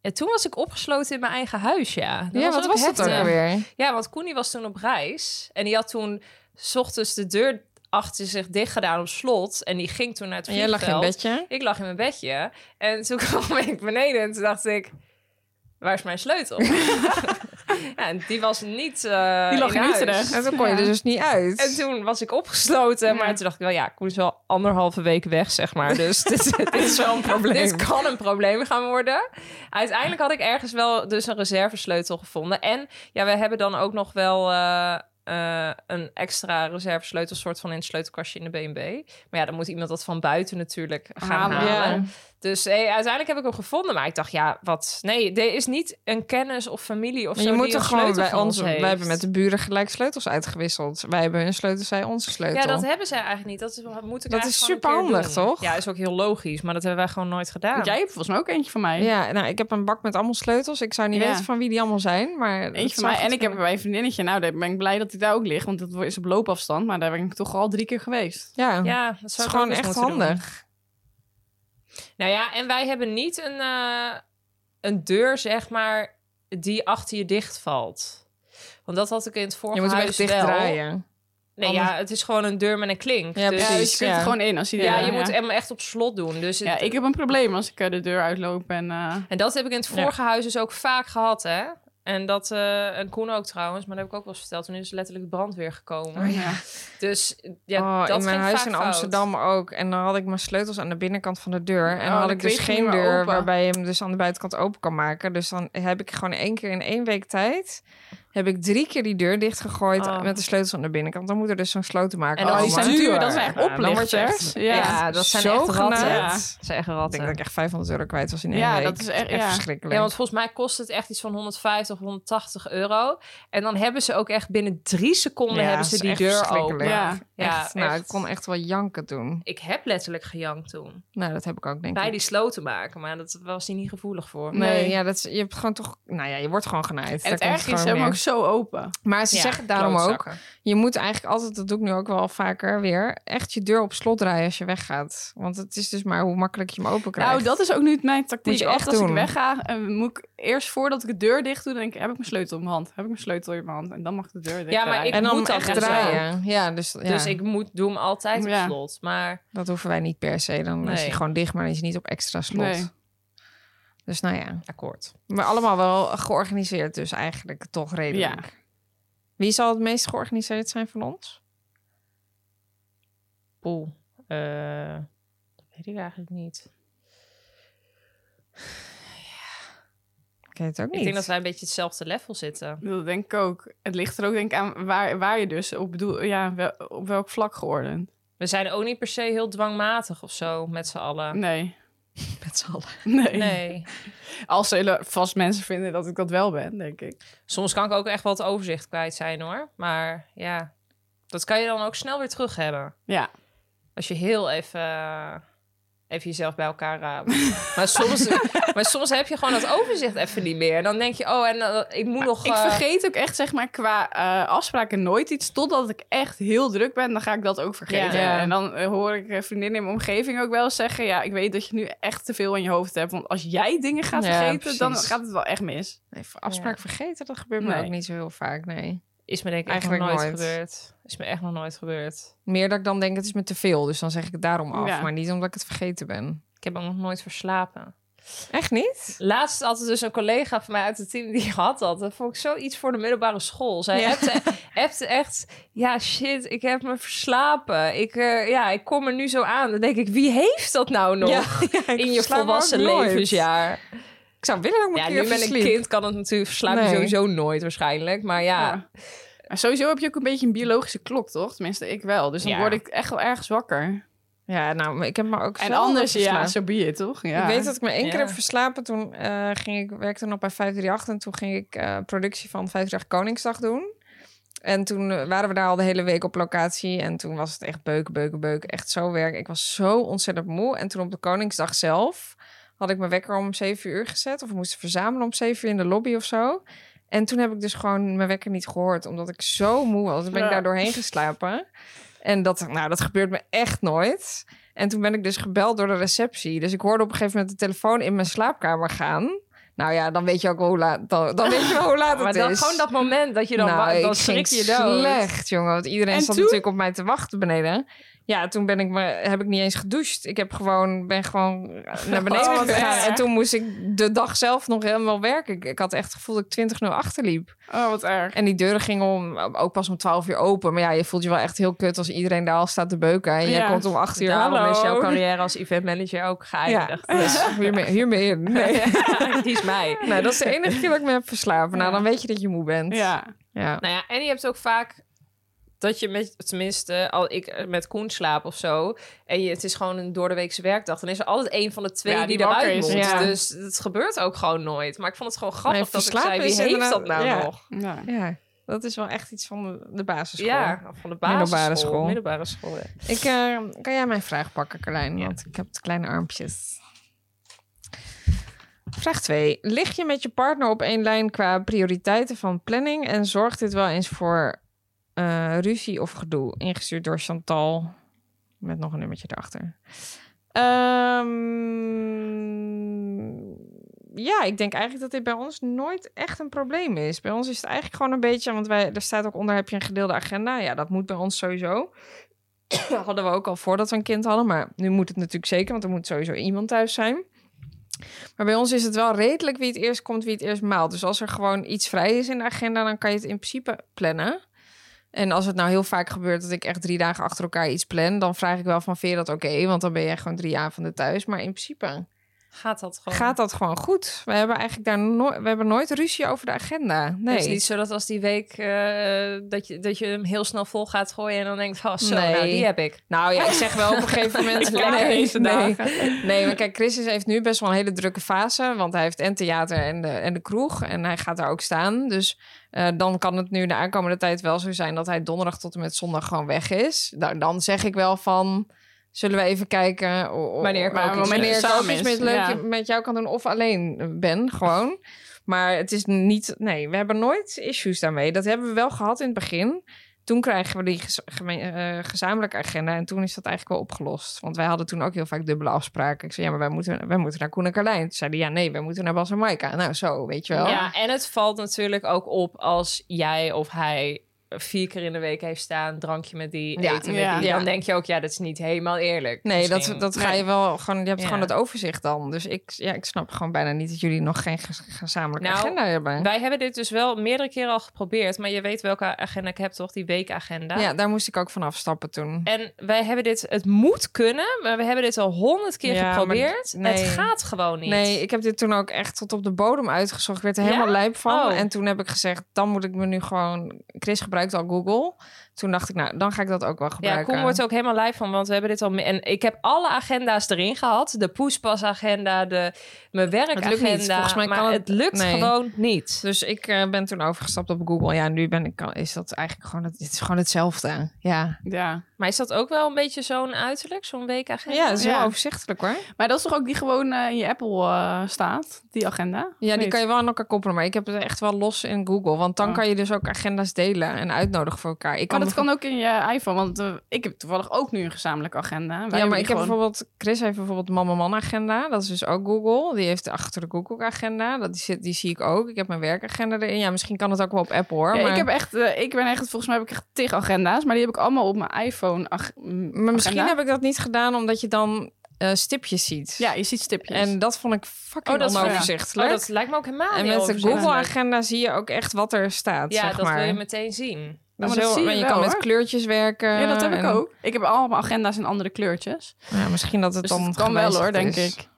F: En toen was ik opgesloten in mijn eigen huis, ja. Dat
E: ja,
F: was
E: wat
F: ook
E: was dat
F: heftig.
E: ook alweer?
F: Ja, want Koen die was toen op reis. En die had toen 's ochtends de deur achter zich dicht gedaan op slot. En die ging toen naar het
E: En jij
F: vliegveld.
E: lag in bedje.
F: Ik lag in mijn bedje. En toen kwam ik beneden en toen dacht ik... Waar is mijn sleutel? ja, en die was niet eh,
D: Die lag in
F: huis.
D: Utrecht.
E: En toen kon je er dus niet uit.
F: En toen was ik opgesloten. Maar toen dacht ik wel, ja, Koen is wel anderhalve week weg, zeg maar. Dus dit, dit is wel een probleem. Dit kan een probleem gaan worden. Uiteindelijk had ik ergens wel dus een reservesleutel gevonden. En ja, we hebben dan ook nog wel... eh, eh, een extra reservesleutel soort van in het sleutelkastje in de B&B. Maar ja, dan moet iemand dat van buiten natuurlijk gaan
D: Halen,
F: halen.
E: ja.
F: Dus hé, uiteindelijk heb ik hem gevonden. Maar ik dacht, ja, wat? Nee, er is niet een kennis of familie of
E: Maar
F: zo
E: je moet
F: die
E: toch
F: een
E: gewoon
F: sleutel
E: bij
F: van
E: ons.
F: heeft.
E: Wij hebben met de buren gelijk sleutels uitgewisseld. Wij hebben hun sleutel, zij onze sleutel.
F: Ja, dat hebben zij eigenlijk niet. Dat is, moet ik
E: Dat
F: eigenlijk
E: is
F: gewoon een keer
E: superhandig,
F: doen.
E: toch?
F: Ja, is ook heel logisch, maar dat hebben wij gewoon nooit gedaan.
D: Want jij hebt volgens mij ook eentje van mij.
E: Ja, nou, ik heb een bak met allemaal sleutels. Ik zou niet
D: Ja.
E: weten van wie die allemaal zijn, maar dat
D: Eentje van
E: zou
D: mij.
E: goed
D: En ik heb bij een vriendinnetje. Nou, daar ben ik blij dat hij daar ook ligt. Want dat is op loopafstand. Maar daar ben ik toch al drie keer geweest.
E: Ja, ja
F: Ja, dat
E: het is
F: zou ik
E: gewoon
F: ook eens
E: echt
F: moeten doen.
E: handig.
F: Nou ja, en wij hebben niet een, eh, een deur, zeg maar, die achter je dicht valt. Want dat had ik in het vorige
E: Je moet hem echt
F: huis
E: dicht
F: wel.
E: draaien.
F: Nee,
E: Anders-
F: ja, het is gewoon een deur met een klink.
E: Ja,
D: Ja, dus
F: dus,
D: je
E: precies.
D: kunt
E: ja.
D: er gewoon in als hij
F: ja,
D: er-
F: je moet hem echt op slot doen. Dus het-
D: Ja, ik heb een probleem als ik eh, de deur uitloop en... eh,
F: En dat heb ik in het vorige huis dus ook vaak gehad, hè. En dat, eh, en Koen ook trouwens, maar dat heb ik ook wel eens verteld. Toen is letterlijk de brandweer gekomen.
D: ja.
F: Dus ja,
E: oh,
F: dat
E: in mijn
F: ging
E: huis
F: vaak
E: in
F: fout.
E: Amsterdam ook. En dan had ik mijn sleutels aan de binnenkant van de deur. En
D: Oh,
E: had
D: dan
E: ik dus
D: kreeg je
E: geen
D: niet meer
E: deur
D: open.
E: waarbij je hem dus aan de buitenkant open kan maken. Dus dan heb ik gewoon één keer in één week tijd... heb ik drie keer die deur dichtgegooid
F: Oh.
E: met de sleutels aan de binnenkant. Dan moet er dus zo'n slotenmaker
F: En dat
D: Oh, die
F: is
D: zijn
E: allemaal.
D: duur. Dat zijn echt
F: Ja, dan word je
D: oplichters.
F: echt- Ja, dat zijn echt ratten.
E: genaaid.
F: Ja.
E: Ik
F: Dat zijn echt
E: denk dat
F: ratten.
E: ik echt 500 euro kwijt was in één
D: Ja,
E: week.
D: dat is echt- ja.
E: verschrikkelijk.
F: Ja, want volgens mij kost het echt iets van 150, 180 euro. En dan hebben ze ook echt binnen drie seconden
E: Ja,
F: hebben
E: het
F: ze
E: is
F: die
E: echt
F: deur
E: verschrikkelijk.
F: open.
D: Ja.
F: Ja,
E: echt, nou,
F: echt.
E: ik kon echt wel janken toen.
F: Ik heb letterlijk gejankt toen.
E: Nou, dat heb ik ook, denk
F: Bij
E: ik.
F: die sloten maken, maar dat was hij niet gevoelig voor.
E: Nee,
D: Nee.
E: ja, dat is, je hebt gewoon toch... Nou ja, je wordt gewoon genaaid.
D: En
E: Daar
D: het
E: komt
D: ergste is,
E: gewoon
D: ze hebben
E: neer.
D: ook zo open.
E: Maar ze
F: Ja,
E: zeggen daarom ook,
F: klootzakken.
E: je moet eigenlijk altijd, dat doe ik nu ook wel vaker weer, echt je deur op slot draaien als je weggaat. Want het is dus maar hoe makkelijk je hem open krijgt.
D: Nou, dat is ook nu mijn tactiek.
E: Moet je
D: Altijd
E: echt
D: als
E: doen.
D: ik wegga, eh, moet ik eerst voordat ik de deur dicht doe, dan denk ik, heb ik mijn sleutel in mijn hand? Heb ik mijn sleutel in mijn hand? En dan mag ik de deur dicht
F: Ja, maar
D: draaien.
F: ik-
E: en dan
F: moet dat
E: echt
F: dus
E: draaien. Ja, dus, ja,
F: Dus ik moet, doe hem altijd op
D: Ja.
F: slot. Maar
E: dat hoeven wij niet per se. Dan is
F: Nee.
E: hij gewoon dicht, maar dan is hij niet op extra slot.
D: Nee.
E: Dus nou ja.
F: akkoord.
E: Maar allemaal wel georganiseerd dus eigenlijk, toch redelijk. Wie zal het meest georganiseerd zijn van ons?
F: Poeh. eh, dat weet ik eigenlijk niet.
E: Ik weet het ook niet.
F: Ik denk dat wij een beetje hetzelfde level zitten.
D: Dat denk ik ook. Het ligt er ook denk ik aan waar, waar je dus op, bedoel, ja, wel- op welk vlak geordend.
F: We zijn ook niet per se heel dwangmatig of zo met z'n allen.
D: Nee.
E: Met z'n allen.
D: Nee.
F: Nee.
D: Als ze hele- vast mensen vinden dat ik dat wel ben, denk ik.
F: Soms kan ik ook echt wel het overzicht kwijt zijn hoor. Maar ja, dat kan je dan ook snel weer terug hebben.
D: Ja.
F: Als je heel even eh, even jezelf bij elkaar rapen. maar, soms, maar soms heb je gewoon dat overzicht even niet meer. En dan denk je, oh, en eh, ik moet nog...
D: Ik
F: eh,
D: vergeet ook echt, zeg maar, qua eh, afspraken nooit iets. Totdat ik echt heel druk ben, dan ga ik dat ook vergeten.
F: Ja.
D: En dan eh, hoor ik eh, vriendinnen in mijn omgeving ook wel eens zeggen... ja, ik weet dat je nu echt te veel in je hoofd hebt. Want als jij dingen gaat
F: Ja,
D: vergeten, dan
F: precies.
D: gaat het wel echt mis.
E: Nee, voor afspraak vergeten, dat gebeurt me
D: Nee.
E: ook niet zo heel vaak, nee.
F: Is me denk ik
E: Eigenlijk
F: eigenlijk nog nooit,
E: nooit.
F: gebeurd. Is me echt nog nooit gebeurd.
E: Meer dat ik dan denk, het is me te veel, dus dan zeg ik het daarom af.
D: Ja.
E: Maar niet omdat ik het vergeten ben.
F: Ik heb ook nog nooit verslapen.
E: Echt niet?
F: Laatst had er dus een collega van mij uit het team die had dat. Dat vond ik zoiets voor de middelbare school. Zij
D: Ja.
F: appte, appte echt, ja shit, ik heb me verslapen. Ik, eh, ja, ik kom er nu zo aan. Dan denk ik, wie heeft dat nou nog in je
E: verslaap me ook
F: volwassen
E: nooit.
F: levensjaar?
E: Ik zou willen dat ik me
F: Ja,
E: een
F: nu
E: keer
F: ben ik
E: versliep.
F: kind, kan het natuurlijk verslapen
E: Nee.
F: sowieso nooit waarschijnlijk. Maar ja,
D: Ja. Maar sowieso heb je ook een beetje een biologische klok, toch? Tenminste, ik wel. Dus dan
F: Ja.
D: word ik echt wel ergens wakker.
E: Ja, nou, maar ik heb me ook
D: En
E: zo
D: anders, ja,
E: verslapen.
D: zo be it, toch? Ja.
E: Ik weet dat ik me één keer
F: Ja.
E: heb verslapen. Toen eh, ging ik, werkte ik nog bij 538 en toen ging ik eh, productie van 538 Koningsdag doen. En toen eh, waren we daar al de hele week op locatie. En toen was het echt beuken, beuken, beuken. Echt zo werk. Ik was zo ontzettend moe. En toen op de Koningsdag zelf had ik mijn wekker om 7 uur gezet. Of we moesten verzamelen om 7 uur in de lobby of zo. En toen heb ik dus gewoon mijn wekker niet gehoord. Omdat ik zo moe was. Toen ben ik
D: Ja.
E: daar doorheen geslapen. En dat, nou, dat gebeurt me echt nooit. En toen ben ik dus gebeld door de receptie. Dus ik hoorde op een gegeven moment de telefoon in mijn slaapkamer gaan. Nou ja, dan weet je ook wel hoe laat, dan, dan weet je wel hoe laat
F: maar
E: het
F: dan,
E: is.
F: gewoon dat moment dat je dan,
E: Nou,
F: wa-
E: ik
F: dan
E: ging
F: schrik je dood.
E: slecht, jongen. Want iedereen
D: En
E: zat
D: toen?
E: natuurlijk op mij te wachten beneden. Ja, toen ben ik me, heb ik niet eens gedoucht. Ik heb gewoon, ben gewoon naar beneden
D: Oh, wat
E: gegaan.
D: erg.
E: En toen moest ik de dag zelf nog helemaal werken. Ik, ik had echt het gevoel dat ik 20 0 achterliep.
D: Oh, wat erg.
E: En die deuren gingen om, ook pas om 12 uur open. Maar ja, je voelt je wel echt heel kut als iedereen daar al staat te beuken. En jij
D: Ja.
E: komt om 8 uur aan.
F: Daarom
E: Dan
F: is
E: is
F: jouw
E: jouw
F: carrière als eventmanager ook
E: Ja,
F: geëindigd.
E: dus hiermee, hiermee in. Nee.
F: Die is mij.
E: Nou, dat is de enige keer dat ik me heb verslapen. Nou, dan weet je dat je moe bent.
D: Ja.
E: ja.
F: Nou ja, en je hebt ook vaak dat je met, tenminste, al ik eh, met Koen slaap of zo, en je, het is gewoon een doordeweekse werkdag, dan is er altijd een van de twee
D: Ja,
F: die,
D: die wakker
F: eruit
D: is,
F: moet.
E: ja.
F: Dus het gebeurt ook gewoon nooit. Maar ik vond het gewoon grappig
E: Nee,
F: dat ik
E: verslapen
F: zei, wie
E: is
F: heeft dat
E: inderdaad-
F: nou
E: ja.
F: nog?
D: ja.
E: Ja, dat is wel echt iets van de, de basisschool.
F: Ja, van de basisschool.
E: Middelbare school.
F: Middelbare school, ja.
E: Ik, eh, kan jij mijn vraag pakken, Carlijn? Want ik heb de kleine armpjes. Vraag 2. Lig je met je partner op één lijn qua prioriteiten van planning? En zorgt dit wel eens voor eh, ruzie of gedoe? Ingestuurd door Chantal. Met nog een nummertje erachter. Ehm, ja, ik denk eigenlijk dat dit bij ons nooit echt een probleem is. Bij ons is het eigenlijk gewoon een beetje... Want wij, er staat ook onder, heb je een gedeelde agenda? Ja, dat moet bij ons sowieso. Dat hadden we ook al voordat we een kind hadden. Maar nu moet het natuurlijk zeker, want er moet sowieso iemand thuis zijn. Maar bij ons is het wel redelijk wie het eerst komt, wie het eerst maalt. Dus als er gewoon iets vrij is in de agenda, dan kan je het in principe plannen. En als het nou heel vaak gebeurt dat ik echt drie dagen achter elkaar iets plan, dan vraag ik wel van veer dat oké, want dan ben je gewoon drie avonden thuis. Maar in principe
F: Gaat dat gewoon?
E: gaat dat gewoon goed. We hebben eigenlijk daar nooit, we hebben nooit ruzie over de agenda. Nee.
F: Het is niet zo dat als die week eh, dat, je, dat je hem heel snel vol gaat gooien en dan denkt, oh zo,
E: Nee.
F: nou, die heb ik.
E: Nou ja, ik zeg wel op een gegeven moment.
F: Lekker deze
E: nee, nee, maar kijk, Chris is- heeft nu best wel een hele drukke fase. Want hij heeft en theater en de, en de kroeg. En hij gaat daar ook staan. Dus eh, dan kan het nu de aankomende tijd wel zo zijn dat hij donderdag tot en met zondag gewoon weg is. Nou, dan zeg ik wel van. Zullen we even kijken o- o-
F: Wanneer ik
E: maar
F: ook iets
E: wanneer
D: met-
E: ik
D: samen
E: ook iets
D: is,
E: met, leuk,
D: ja.
E: met jou kan doen of alleen ben, gewoon. Maar het is niet... Nee, we hebben nooit issues daarmee. Dat hebben we wel gehad in het begin toen krijgen we die gez- geme- eh, gezamenlijke agenda. En toen is dat eigenlijk wel opgelost. Want wij hadden toen ook heel vaak dubbele afspraken. Ik zei, ja, maar wij moeten, wij moeten naar Koen en Carlijn. Toen zeiden die, ja, nee, wij moeten naar Bas en Maaika. Nou, zo, weet je wel.
F: Ja, en het valt natuurlijk ook op als jij of hij vier keer in de week heeft staan, drankje met die,
E: Ja.
F: eten met
D: Ja.
F: die. Dan
E: Ja.
F: denk je ook, ja, dat is niet helemaal eerlijk.
E: Nee, dat,
F: Misschien.
E: dat ga je wel gewoon... Je hebt
F: Ja.
E: gewoon het overzicht dan. Dus ik, ja, ik snap gewoon bijna niet dat jullie nog geen gez- gezamenlijke
F: Nou,
E: agenda hebben.
F: Wij hebben dit dus wel meerdere keren al geprobeerd, maar je weet welke agenda ik heb, toch? Die weekagenda.
E: Ja, daar moest ik ook van afstappen toen.
F: En wij hebben dit, het moet kunnen, maar we hebben dit al honderd keer
E: Ja, maar
F: geprobeerd.
E: nee.
F: Het gaat gewoon niet.
E: Nee, ik heb dit toen ook echt tot op de bodem uitgezocht. Ik werd er helemaal
F: Ja?
E: lijp van.
F: Oh.
E: En toen heb ik gezegd, dan moet ik me nu gewoon... Chris gebruikt al Google. Toen dacht ik, nou, dan ga ik dat ook wel
F: Ja,
E: gebruiken.
F: Koen wordt er ook helemaal lijf van, want we hebben dit al... me- En ik heb alle agenda's erin gehad. De poespasagenda, de, mijn werkagenda.
E: niet. Volgens mij
F: maar
E: kan het-
F: het lukt
E: nee.
F: gewoon niet.
E: Dus ik eh, ben toen overgestapt op Google. Ja, nu ben ik, al- is dat eigenlijk gewoon, het, het is gewoon hetzelfde. Ja.
D: Ja.
F: Maar is dat ook wel een beetje zo'n uiterlijk, zo'n week agenda?
E: Ja, dat is wel
D: Ja.
E: overzichtelijk hoor.
D: Maar dat is toch ook die gewoon eh, in je Apple eh, staat, die agenda? Of
E: Ja, die
D: niet?
E: kan je wel aan elkaar koppelen. Maar ik heb het echt wel los in Google. Want dan
D: Oh.
E: kan je dus ook agenda's delen en uitnodigen voor elkaar. Ik kan
D: Maar dat kan ook in je iPhone, want eh, ik heb toevallig ook nu een gezamenlijke agenda. Wij
E: Ja,
D: hebben
E: maar
D: die
E: ik heb
D: gewoon-
E: bijvoorbeeld... Chris heeft bijvoorbeeld Mama Man agenda. Dat is dus ook Google. Die heeft achter de Google agenda. Dat die, zit, die zie ik ook. Ik heb mijn werkagenda erin. Ja, misschien kan het ook wel op Apple hoor.
D: Ja,
E: maar...
D: ik heb echt, eh, ik ben echt, volgens mij heb ik echt tig agenda's, maar die heb ik allemaal op mijn iPhone. Ag- mm,
E: maar misschien heb ik dat niet gedaan omdat je dan eh, stipjes ziet.
D: Ja, je ziet stipjes.
E: En dat vond ik fucking
F: Oh, dat is-
E: onoverzichtelijk.
F: Oh, dat lijkt me ook helemaal
D: Ah,
E: en
F: niet
E: met de
F: overzichtelijk.
E: Google-agenda zie je ook echt wat er staat.
F: Ja,
E: zeg
F: dat
E: maar.
F: wil je meteen zien.
E: Dat is
D: maar Oh, dat
E: heel-
D: zie je
E: en je
D: wel,
E: kan met
D: hoor.
E: kleurtjes werken.
D: ja, dat heb ik
E: en-
D: ook. Ik heb allemaal mijn agenda's in andere kleurtjes.
E: Ja, misschien dat het
D: Dus
E: dan
D: dat kan wel
E: gewijzigd
D: hoor, denk
E: is.
D: ik.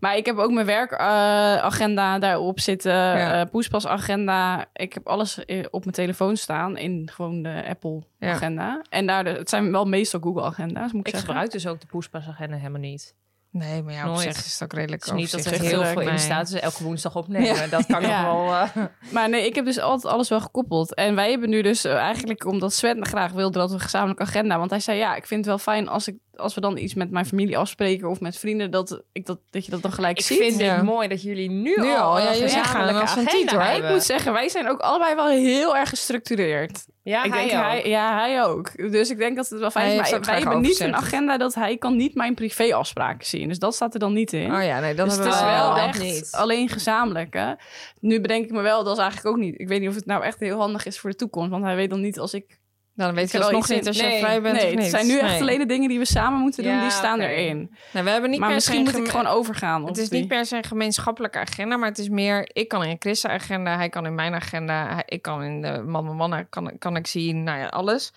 D: Maar ik heb ook mijn werkagenda agenda daarop zitten.
E: Ja.
D: eh Poespas agenda. Ik heb alles eh, op mijn telefoon staan in gewoon de Apple
E: Ja.
D: agenda. En daar, het zijn wel meestal Google agenda's, moet ik,
F: Ik
D: zeggen.
F: gebruik dus ook de poespasagenda helemaal niet.
E: Nee, maar ja, op
F: Nooit.
E: zich is het ook redelijk
F: Het is niet dat er
E: overzichtelijk.
F: heel veel in
E: Nee.
F: staat. Dus elke woensdag opnemen. Dat kan
D: Ja.
F: nog wel... eh,
D: Maar nee, ik heb dus altijd alles wel gekoppeld. En wij hebben nu dus eh, eigenlijk, omdat Sven graag wilde dat we een gezamenlijke agenda. Want hij zei, ja, ik vind het wel fijn als, ik, als we dan iets met mijn familie afspreken of met vrienden, dat, ik dat, dat je dat dan gelijk
F: ik
D: ziet.
F: vind
E: ja.
F: het mooi dat jullie nu,
E: Nu
F: al,
E: al, ja,
F: een
E: jullie gaan
F: gezamenlijke
E: als een
F: agenda
E: tiet, hoor. Ik
D: Ik
F: hebben.
D: moet zeggen, wij zijn ook allebei wel heel erg gestructureerd.
F: Ja,
D: ik
F: hij
D: denk,
F: ook.
D: Hij, ja, hij ook. Dus ik denk dat het wel fijn
E: Hij
D: is.
E: heeft
D: Maar
E: ook
D: wij
E: graag
D: hebben niet een
E: overzicht.
D: agenda dat hij kan niet mijn privéafspraken zien. Dus dat staat er dan niet in.
E: Oh ja, nee, dat
D: Dus het
E: hebben
D: is
E: we
D: wel
F: dat
D: echt
F: niet.
D: alleen gezamenlijke. Nu bedenk ik me wel, dat is eigenlijk ook niet. Ik weet niet of het nou echt heel handig is voor de toekomst. Want hij weet dan niet als ik...
E: Dan weet je
D: er wel
E: alsnog
D: iets in-
E: niet als je
F: Nee,
E: vrij bent
D: nee,
E: of niet.
D: het zijn nu echt
E: Nee.
D: alleen de dingen die we samen moeten doen.
F: Ja,
D: die staan
F: oké.
D: erin.
E: Nou, we hebben niet
D: Maar
E: per se
D: misschien moet
E: een
D: ik
E: geme-
D: gewoon overgaan. op
E: Het is
D: die.
E: niet per se een gemeenschappelijke agenda, maar het is meer... Ik kan in Chris' agenda, hij kan in mijn agenda... hij- ik kan in de man mannen, kan, kan ik zien, nou ja, alles.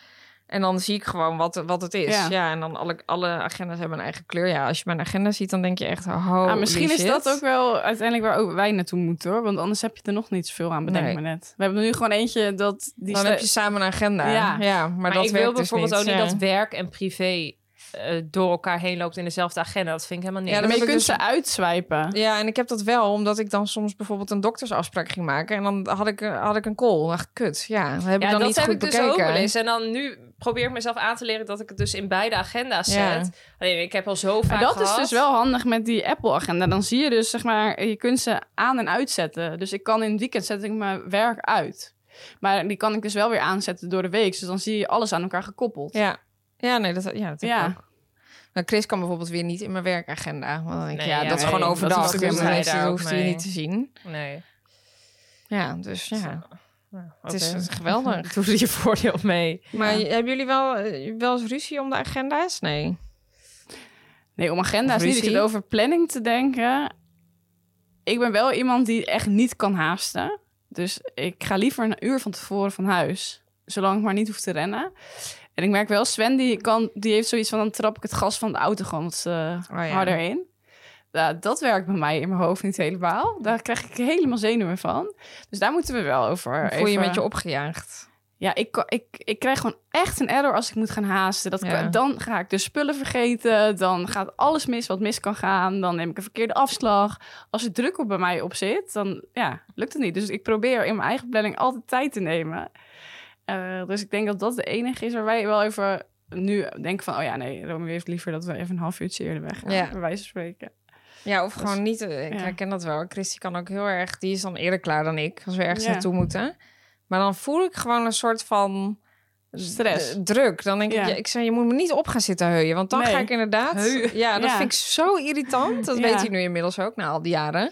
E: En dan zie ik gewoon wat, wat het is. Ja,
D: Ja.
E: en dan alle, alle agenda's hebben een eigen kleur. Ja, als je mijn agenda ziet, dan denk je echt... Oh,
D: Ah, misschien is dat ook wel uiteindelijk waar ook wij naartoe moeten hoor. Want anders heb je er nog niet zoveel aan, bedenk
E: Nee.
D: me net. We hebben nu gewoon eentje dat... Die
E: Dan
D: sta-
E: heb je samen een agenda. Ja,
D: Ja.
E: maar,
F: Maar,
E: dat
F: ik
E: werkt
F: wil
E: dus
F: bijvoorbeeld
E: niet.
F: ook niet
E: Ja.
F: dat werk en privé eh, door elkaar heen loopt in dezelfde agenda. Dat vind ik helemaal
E: Ja,
F: niks.
E: dat
D: maar je
E: heb ik
D: kunt
E: dus-
D: ze uitswipen.
E: Ja, en ik heb dat wel, omdat ik dan soms bijvoorbeeld een doktersafspraak ging maken. En dan had ik, eh, had ik een call. Dan dacht ik, kut, ja, dat heb ik
F: Ja,
E: dan
F: dat
E: niet
F: heb
E: goed
F: ik dus
E: bekeken.
F: ook wel eens. En dan nu probeer ik mezelf aan te leren dat ik het dus in beide agenda's
E: Ja.
F: zet. Alleen ik heb al zo vaak
D: Maar dat is
F: gehad.
D: dus wel handig met die Apple-agenda. Dan zie je dus, zeg maar, je kunt ze aan- en uitzetten. Dus ik kan in het weekend zet ik mijn werk uit. Maar die kan ik dus wel weer aanzetten door de week. Dus dan zie je alles aan elkaar gekoppeld.
E: Ja, ja nee, dat, ja, dat heb
D: Ja.
E: ik ook. Maar Chris kan bijvoorbeeld weer niet in mijn werkagenda. Want dan denk ik,
F: Nee,
E: ja,
F: ja,
E: dat is
F: nee,
E: gewoon
F: dat
E: overdag.
D: hoeft ook
E: dus
D: niet.
E: dan
F: Nee,
E: heeft hij-
F: daar ook
E: hoeft hij je
F: mee.
E: niet te zien.
F: Nee. Nou,
E: Ja, dus ja, het is
F: Oké.
E: eh, geweldig.
F: Doe er je voordeel mee.
E: Maar hebben jullie wel, eh, wel eens ruzie om de agenda's? Nee.
D: Nee, om agenda's
E: Ruzie.
D: niet. Ik zit over planning te denken. Ik ben wel iemand die echt niet kan haasten. Dus ik ga liever een uur van tevoren van huis. Zolang ik maar niet hoef te rennen. En ik merk wel, Sven die, kan, die heeft zoiets van... dan trap ik het gas van de auto gewoon wat, eh,
E: Oh ja.
D: harder in. Nou, dat werkt bij mij in mijn hoofd niet helemaal. Daar krijg ik helemaal zenuwen van. Dus daar moeten we wel over.
E: Voel je je
D: even-
E: een beetje opgejaagd?
D: Ja, ik, kan- ik, ik krijg gewoon echt een error als ik moet gaan haasten. Dat,
E: Ja.
D: kan- Dan ga ik de spullen vergeten. Dan gaat alles mis wat mis kan gaan. Dan neem ik een verkeerde afslag. Als er druk op bij mij op zit, dan ja, lukt het niet. Dus ik probeer in mijn eigen planning altijd tijd te nemen. Eh, dus ik denk dat dat de enige is waar wij wel even nu denken van... oh ja, nee, Romy heeft liever dat we even een half uurtje eerder weggaan.
E: Ja.
D: Bij wijze van spreken.
E: Ja, of gewoon niet. eh, Ik
D: ja.
E: herken dat wel. Christy kan ook heel erg. Die is dan eerder klaar dan ik als we ergens
D: Ja.
E: naartoe moeten. Maar dan voel ik gewoon een soort van
D: Stress.
E: d- druk. Dan denk ik,
D: Ja.
E: ja, ik zeg, je moet me niet op gaan zitten heuien, want dan
D: Nee.
E: ga ik inderdaad.
D: Heu.
E: Ja, dat
D: Ja.
E: vind ik zo irritant. Dat
D: Ja.
E: weet hij nu inmiddels ook na al die jaren.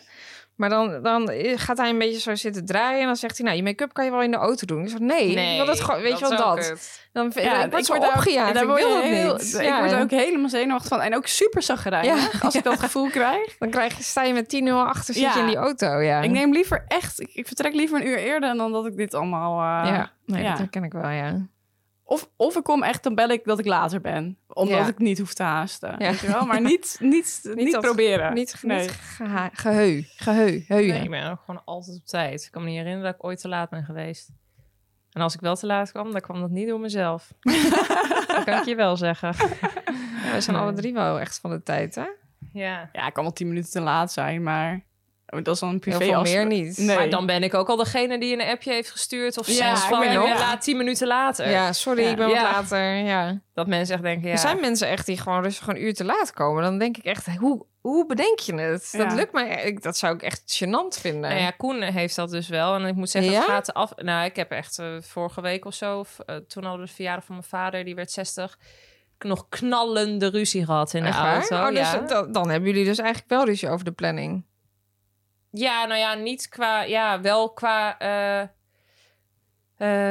E: Maar dan, dan eh, gaat hij een beetje zo zitten draaien en dan zegt hij, nou, je make-up kan je wel in de auto doen. Ik zeg, nee, ik wil dat gewoon, weet je wat
F: is ook
E: dat?
F: kut.
E: Dan vind ik word zo
D: daar ook-
E: opgejaagd.
D: daar
E: Ik
D: word je
E: wil dat
D: heel-
E: niet.
D: Ik
E: Ja.
D: word er ook helemaal zenuwachtig van. En ook super zagrijnig
E: Ja.
D: als ik dat gevoel krijg.
E: Dan krijg je, sta je met 10-0 achter, zit
D: Ja.
E: je in die auto. Ja.
D: Ik neem liever echt, ik, ik vertrek liever een uur eerder dan dat ik dit allemaal. eh,
E: ja, nee,
D: ja.
E: dat herken ik wel, ja.
D: of, of ik kom echt, dan bel ik dat ik later ben. Omdat
E: Ja.
D: ik niet hoef te haasten.
E: Ja.
D: Weet je wel? Maar niet, niet, niet,
E: dat-
D: proberen.
E: Niet,
D: Nee.
E: niet geha- geheu. Geheu. Heuien.
F: Nee, ik ben ook gewoon altijd op tijd. Ik kan me niet herinneren dat ik ooit te laat ben geweest. En als ik wel te laat kwam, dan kwam dat niet door mezelf. dat kan ik je wel zeggen.
E: Ja, we zijn alle drie wel echt van de tijd, hè?
F: Ja.
D: Ja, ik kan wel tien minuten te laat zijn, maar Oh, Dat is dan een
E: Heel
D: privé
E: veel
D: afspraak.
E: meer niet.
D: Nee.
F: Maar dan ben ik ook al degene die een appje heeft gestuurd. Of
D: Ja,
F: zelfs
D: ik
F: van,
D: ben-
F: joh,
D: ja.
F: laat tien minuten later.
E: Ja, sorry,
D: Ja.
E: ik ben
F: Ja.
E: wat later. Ja.
F: Dat mensen echt denken, ja.
E: Er zijn mensen echt die gewoon rustig een uur te laat komen. Dan denk ik echt, hoe, hoe bedenk je het? Dat
D: Ja.
E: lukt mij. Ik, dat zou ik echt gênant vinden.
F: Nou ja, Koen heeft dat dus wel. En ik moet zeggen,
E: Ja?
F: het gaat af... Nou, ik heb echt eh, vorige week of zo... of, eh, toen hadden we de verjaardag van mijn vader, die werd 60... k- nog knallende ruzie gehad in de
E: Echt waar?
F: auto.
E: Oh, dus
F: ja.
E: dat- dan hebben jullie dus eigenlijk wel ruzie over de planning.
F: ja, nou ja, niet qua... Ja, wel qua... eh,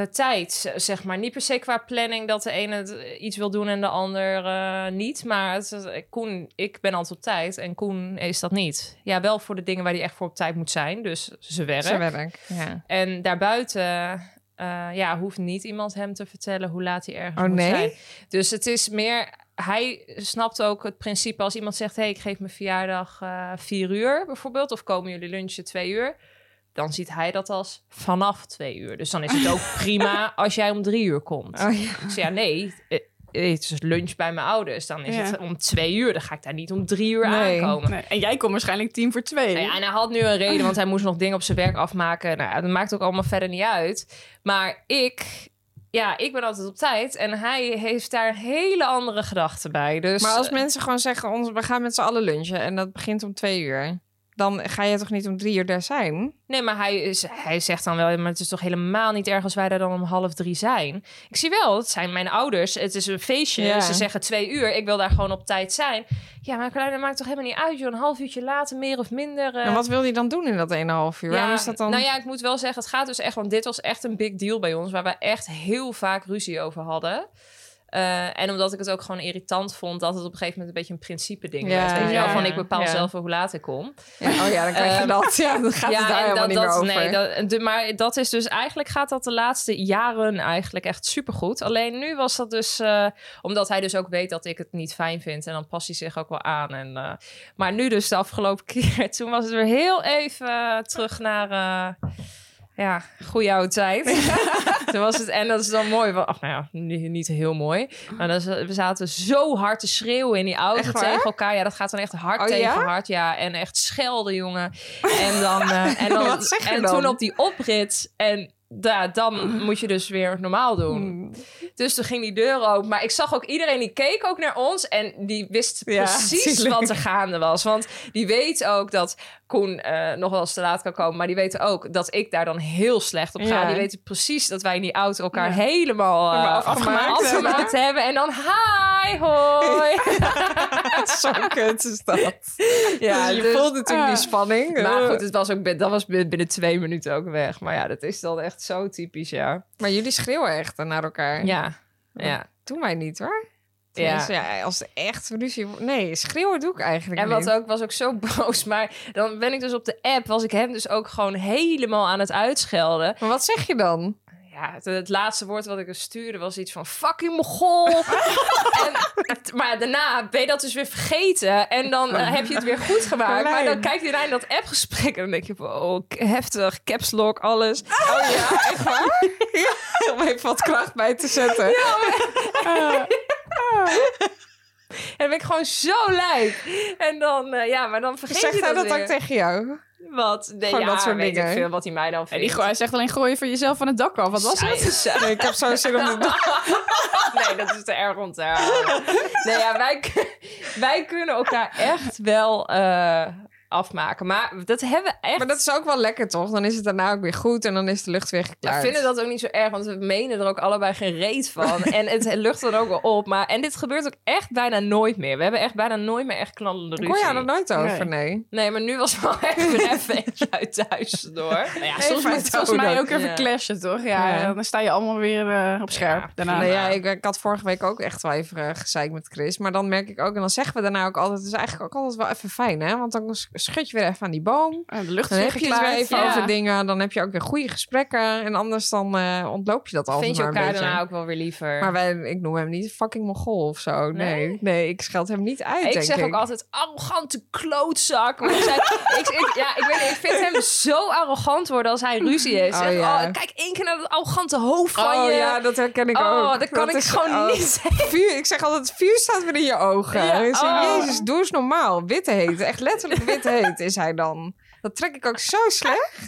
F: eh, tijd, z- zeg maar. Niet per se qua planning dat de ene het, eh, iets wil doen en de ander eh, niet. Maar het, is- eh, Koen, ik ben altijd op tijd en Koen is dat niet. Ja, wel voor de dingen waar hij echt voor op tijd moet zijn. Dus ze werk.
E: Zijn werk. Ja.
F: En daarbuiten eh, ja, hoeft niet iemand hem te vertellen hoe laat hij ergens
E: Oh,
F: moet
E: nee?
F: zijn. Dus het is meer... Hij snapt ook het principe als iemand zegt... hey, ik geef mijn verjaardag eh, vier uur bijvoorbeeld... of komen jullie lunchen twee uur... dan ziet hij dat als vanaf twee uur. Dus dan is het ook prima als jij om drie uur komt.
E: Oh, ja.
F: Ik zei, ja, nee... eh, Het is lunch bij mijn ouders. Dan is
D: Ja.
F: het om twee uur. Dan ga ik daar niet om drie uur
E: Nee.
F: aankomen.
D: Nee, En jij komt waarschijnlijk tien voor twee.
F: Nou ja, en hij had nu een reden, want hij moest nog dingen op zijn werk afmaken. Nou, ja, dat maakt ook allemaal verder niet uit. Maar ik, ja, ik ben altijd op tijd. En hij heeft daar hele andere gedachten bij. Dus
E: Maar als
F: eh,
E: mensen gewoon zeggen, ons, we gaan met z'n allen lunchen en dat begint om twee uur. Dan ga je toch niet om drie uur daar zijn?
F: nee, maar hij, is, hij zegt dan wel, maar het is toch helemaal niet erg als wij daar dan om half drie zijn. Ik zie wel, het zijn mijn ouders. Het is een feestje.
E: Ja.
F: Ze zeggen twee uur. Ik wil daar gewoon op tijd zijn. Ja, maar Carlijn, dat maakt toch helemaal niet uit, joh. Een half uurtje later, meer of minder. eh,
E: En wat wil je dan doen in dat 1,5 uur? Waarom is dat dan?
F: Nou ja, ik moet wel zeggen, het gaat dus echt... Want dit was echt een big deal bij ons... waar we echt heel vaak ruzie over hadden. Eh, en omdat ik het ook gewoon irritant vond... dat het op een gegeven moment een beetje een principe
E: Ja,
F: ding werd. Weet je wel,
E: ja,
F: van
E: ja.
F: ik bepaal
E: Ja.
F: zelf hoe laat ik kom.
E: Ja, Oh ja, dan krijg je
F: Ehm,
E: dat. Ja, dan gaat het daar
F: en
E: helemaal
F: dat,
E: niet meer
F: dat,
E: over.
F: Nee, dat, de- maar dat is dus eigenlijk gaat dat de laatste jaren eigenlijk echt supergoed. Alleen nu was dat dus, eh, omdat hij dus ook weet dat ik het niet fijn vind en dan past hij zich ook wel aan. En, eh, maar nu dus de afgelopen keer, toen was het weer heel even eh, terug naar. eh, ja, goede oude tijd. Toen was het, en dat is dan mooi. want- Ach, nou ja, ni- niet heel mooi. Maar dan, z- we zaten zo hard te schreeuwen in die auto
E: Echt waar?
F: tegen elkaar. Ja, dat gaat dan echt hard
E: Oh,
F: tegen
E: ja?
F: hard. Ja, en echt schelden, jongen. En dan, eh, en, dan,
E: Wat zeg je
F: en
E: dan? Mm.
F: toen op die oprit. En da, dan moet je dus weer normaal doen. Dus toen ging die deur open. Maar ik zag ook iedereen die keek ook naar ons. En die wist
E: Ja,
F: precies
E: tuurlijk.
F: wat er gaande was. Want die weet ook dat Koen eh, nog wel eens te laat kan komen. Maar die weten ook dat ik daar dan heel slecht op ga.
E: Ja.
F: Die weten precies dat wij in die auto elkaar
D: Ja.
F: helemaal eh,
D: Helemaal
F: afgemaakt,
D: afgemaakt
F: afgemaakt hebben. En dan hi, hoi.
E: Zo kut is dat. Ja, je
F: dus-
E: voelt
D: ah.
E: natuurlijk die spanning. Eh.
F: Maar goed, het was ook, bin- dat was bin- binnen twee minuten ook weg. Maar ja, dat is dan echt zo typisch, ja.
E: Maar jullie schreeuwen echt eh, naar elkaar.
F: Ja, ja.
E: Doen wij niet hoor.
F: ja.
E: Tenminste, ja. Als het echt ruzie wordt. Nee, schreeuwen doe ik eigenlijk
F: En
E: niet.
F: wat eh, ook, was ook zo boos. Maar dan ben ik dus op de app, was ik hem dus ook gewoon helemaal aan het uitschelden.
E: Maar wat zeg je dan?
F: Ja, het, het laatste woord wat ik dus stuurde was iets van fucking mogol. en, maar daarna ben je dat dus weer vergeten. En dan eh, heb je het weer goed gemaakt. Maar dan
E: Carlijn.
F: kijkt hij naar in dat appgesprek en dan denk je, oh, heftig, caps lock, alles.
E: Oh ja, echt waar? ja. Om even wat kracht bij te zetten.
F: En dan ben ik gewoon zo lijk. En dan, eh, ja, maar dan vergeet
E: Zegt
F: je
E: hij dat
F: weer.
E: ook tegen jou?
F: Wat? Nee,
E: Gewoon
F: ja,
E: dat soort
F: weet
E: dingen.
F: ik veel wat hij mij dan
D: En
F: vindt.
D: die gooi- hij zegt alleen gooi je van jezelf van het dak af. Wat was het?
F: het?
E: Nee, ik heb zo'n zin om te doen.
F: Nee, dat is te erg om te herhalen. Nee, ja, wij, kun- wij kunnen elkaar echt wel eh, afmaken. Maar dat hebben we echt...
E: Maar dat is ook wel lekker, toch? Dan is het daarna ook weer goed en dan is de lucht weer
F: Ja,
E: geklaard.
F: we vinden dat ook niet zo erg, want we menen er ook allebei geen reet van. en het lucht er ook wel op. Maar, en dit gebeurt ook echt bijna nooit meer. We hebben echt bijna nooit meer echt knallende
E: Ik
F: ruzie.
E: hoor jou er nooit over, nee.
F: Nee, maar nu was het wel echt weer even eentje uit thuis door. Nou ja,
D: Soms moet het volgens mij ook even
F: Ja.
D: clashen, toch? Ja,
E: Ja.
D: dan sta je allemaal weer eh, op scherp
F: Nou Ja.
D: daarna.
E: nee Nou ja, ik, ik had vorige week ook echt wel even eh, gezeik met Chris. Maar dan merk ik ook, en dan zeggen we daarna ook altijd... Het is eigenlijk ook altijd wel even fijn, hè? Want dan schud je weer even aan die boom.
D: En de lucht
E: Dan
D: is weer
E: heb je het weer
D: geklaard.
E: even
D: Ja.
E: over dingen. Dan heb je ook weer goede gesprekken. En anders dan eh, ontloop je dat altijd
F: Vind je
E: maar een
F: elkaar
E: beetje.
F: daarna ook wel weer liever.
E: Maar wij, ik noem hem niet fucking Mongool of zo. Nee, nee, ik scheld hem niet uit,
F: ik
E: denk
F: zeg
E: ik.
F: ook altijd arrogante klootzak. Maar hij zei- ik, ik, ja, ik, weet, niet, ik vind hem zo arrogant worden als hij ruzie heeft.
E: Oh,
F: Zeg,
E: ja.
F: oh, kijk één keer naar dat arrogante hoofd van
E: Oh
F: je.
E: ja, dat herken ik ook.
F: oh, dat kan ik
E: is-
F: gewoon
E: oh,
F: niet zeggen.
E: Vuur, ik zeg altijd, vuur staat weer in je ogen.
F: Ja,
E: Ik zeg,
F: oh.
E: Jezus, doe eens normaal. Witte heet, echt letterlijk witte heet is hij dan. Dat trek ik ook zo slecht.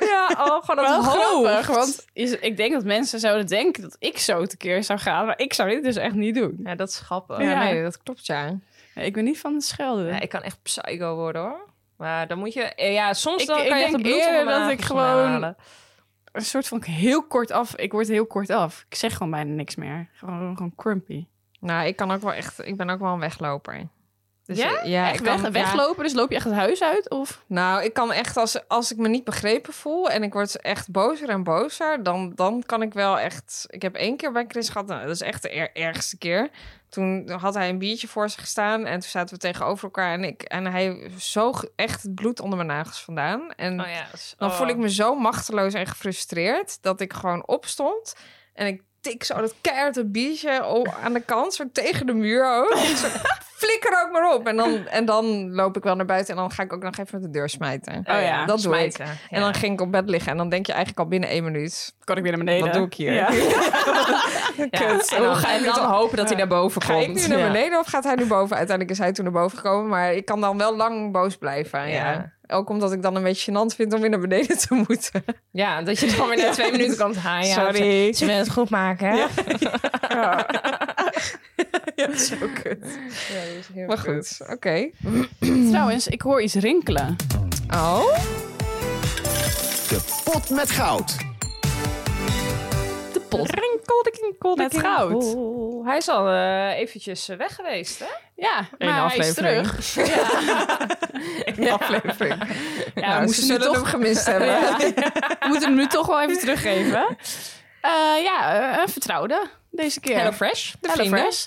D: Ja, al gewoon
F: Wel
D: grappig.
F: grappig.
D: Want is- ik denk dat mensen zouden denken dat ik zo tekeer zou gaan. Maar ik zou dit dus echt niet doen.
F: Ja, dat is grappig.
D: Ja.
F: Ja, nee, dat klopt ja.
D: Nee, Ik ben niet van de schelden.
F: Ja, Ik kan echt psycho worden hoor. Maar dan moet je... eh, Ja, soms
D: Ik-
F: dan
D: ik
F: kan je echt
D: denk
F: de bloed
D: eerder
F: onder mijn
D: dat ik
F: nagels vandaan
D: gewoon-
F: halen.
D: Een soort van heel kort af. Ik word heel kort af. Ik zeg gewoon bijna niks meer. Gewoon, gewoon crumpy.
E: Nou, ik kan ook wel echt. Ik ben ook wel een wegloper. Dus,
D: Ja?
E: eh, ja,
D: echt
E: ik
D: weg-
E: kan- ja.
D: weglopen, dus loop je echt het huis uit? Of?
E: Nou, ik kan echt als, als ik me niet begrepen voel en ik word echt bozer en bozer, dan, dan kan ik wel echt. Ik heb één keer bij Chris gehad, nou, dat is echt de er- ergste keer. Toen had hij een biertje voor zich gestaan en toen zaten we tegenover elkaar en ik en hij zoog echt het bloed onder mijn nagels vandaan. En
F: Oh, ja, dat is-
E: dan
F: oh.
E: voel ik me zo machteloos en gefrustreerd dat ik gewoon opstond en ik tik zo dat keihard het biertje o- aan de kant, zo tegen de muur ook. Ik zo, Flikker ook maar op. En dan, en dan loop ik wel naar buiten en dan ga ik ook nog even de deur smijten.
D: Oh ja,
E: dat doe ik.
F: smijten, ja.
E: En dan ging ik op bed liggen en dan denk je eigenlijk al binnen één minuut.
D: Kan ik weer naar beneden?
E: Wat doe ik hier?
D: Ja.
F: Ja,
E: Kut,
F: en dan,
E: hoe ga ik
F: en
E: nu
F: dan
E: toch-
F: hopen dat hij naar boven
E: Ga
F: komt.
E: ik nu naar
F: Ja.
E: beneden of gaat hij nu boven? Uiteindelijk is hij toen naar boven gekomen, maar ik kan dan wel lang boos blijven. Ja.
F: Ja.
E: Ook omdat ik dan een beetje gênant vind om weer naar beneden te moeten.
F: Ja, dat je dan weer na twee minuten kan haaien.
E: Sorry.
F: Ze willen het goed maken, hè? Ja,
E: Zo kut. Maar goed, oké.
D: Trouwens, ik hoor iets rinkelen.
E: Oh?
C: De pot met goud.
D: De pot rinkelde, rinkelde. Met goud.
F: Hij is al eh, eventjes eh, weg geweest, hè?
D: Ja,
F: Eén
D: maar hij is
F: aflevering.
D: terug.
E: Aflevering.
D: Ja, we,
E: Nou, ze
D: moesten nu
E: zullen
D: toch,
E: hem gemist hebben. Oh
D: we moeten hem nu toch wel even teruggeven. Eh, ja, eh, een vertrouwde deze keer.
F: Hello Fresh. De
D: Hello
F: vrienden.
D: Fresh.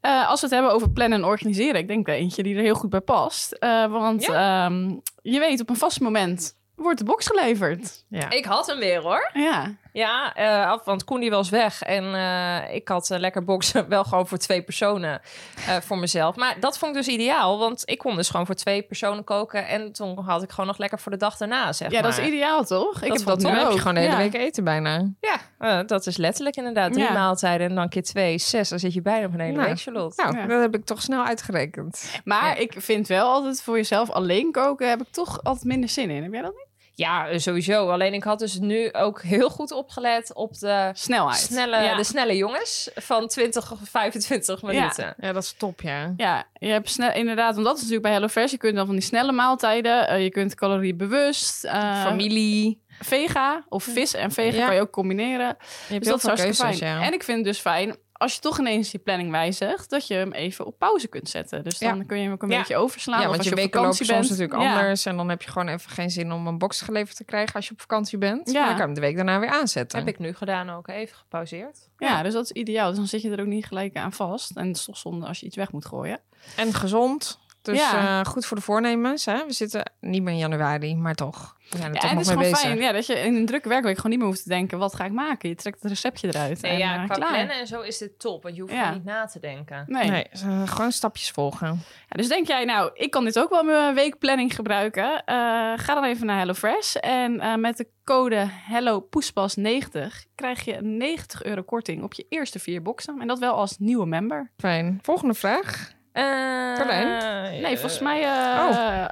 D: Eh, als we het hebben over plannen en organiseren, ik denk wel eentje die er heel goed bij past. Eh, want ehm, je weet, op een vast moment wordt de box geleverd.
F: Ik had hem weer, hoor.
D: Ja,
F: Ja, eh, af, want Koen die was weg. En eh, ik had eh, lekker boksen wel gewoon voor twee personen eh, voor mezelf. Maar dat vond ik dus ideaal, want ik kon dus gewoon voor twee personen koken. En toen had ik gewoon nog lekker voor de dag daarna, zeg
D: ja dat is
F: maar.
D: ideaal toch? Ik
F: Dat
D: heb
F: vond
D: dat nu
F: ik wel.
E: Dan heb
D: ook.
E: je gewoon de hele
D: Ja.
E: week eten bijna.
F: Ja, eh, dat is letterlijk inderdaad. Drie
D: Ja.
F: maaltijden en dan keer twee, zes. Dan zit je bijna op een hele
E: Nou,
F: week, Charlotte.
E: Nou,
D: Ja.
E: dat heb ik toch snel uitgerekend.
D: Maar ik vind wel altijd voor jezelf alleen koken heb ik toch altijd minder zin in. Heb jij dat niet?
F: Ja, eh, sowieso. Alleen ik had dus nu ook heel goed opgelet op de
D: Snelheid.
F: snelle,
D: ja.
F: de snelle jongens van 20 of 25 minuten. Ja.
E: Ja, dat is top, ja.
D: Ja, je hebt snel, inderdaad, want dat is natuurlijk bij HelloFresh. Je kunt dan van die snelle maaltijden, eh, je kunt caloriebewust, eh
F: Familie.
D: vega of vis en vega
E: Ja.
D: kan je ook combineren.
E: Je
D: Dus
E: hebt
D: dat is
E: heel veel
D: hartstikke
E: keuzes,
D: fijn.
E: ja.
D: En ik vind het dus fijn, als je toch ineens die planning wijzigt, dat je hem even op pauze kunt zetten. Dus dan kun je hem ook een
F: Ja.
D: beetje overslaan.
E: ja,
D: of
E: want
D: als
E: je
D: je, op
E: weken lopen
D: vakantie bent.
E: soms natuurlijk
D: Ja.
E: anders. En dan heb je gewoon even geen zin om een box geleverd te krijgen als je op vakantie bent.
D: Ja.
E: Maar dan kan je hem de week daarna weer aanzetten.
F: Heb ik nu gedaan ook. Even gepauzeerd.
D: Ja. dus dat is ideaal. Dus dan zit je er ook niet gelijk aan vast. En het is toch zonde als je iets weg moet gooien.
E: En gezond. Dus
D: Ja.
E: eh, goed voor de voornemens. Hè? We zitten niet meer in januari, maar toch. We zijn er
D: Ja,
E: toch
D: en het is
E: nog mee
D: gewoon
E: bezig.
D: fijn ja, dat je in een drukke werkweek gewoon niet meer hoeft te denken, wat ga ik maken? Je trekt het receptje eruit en eh,
F: qua
D: klaar.
F: plannen en zo is dit top. Want je hoeft
D: Ja.
F: er niet na te denken.
D: Nee.
E: Nee, eh, gewoon stapjes volgen.
D: Ja, dus denk jij, nou, ik kan dit ook wel in mijn weekplanning gebruiken. Eh, ga dan even naar HelloFresh. En eh, met de code HelloPoespas90 krijg je 90 euro korting op je eerste vier boxen. En dat wel als nieuwe member.
E: Fijn. Volgende vraag.
F: Eh,
E: Carlijn?
D: Nee, volgens mij... eh,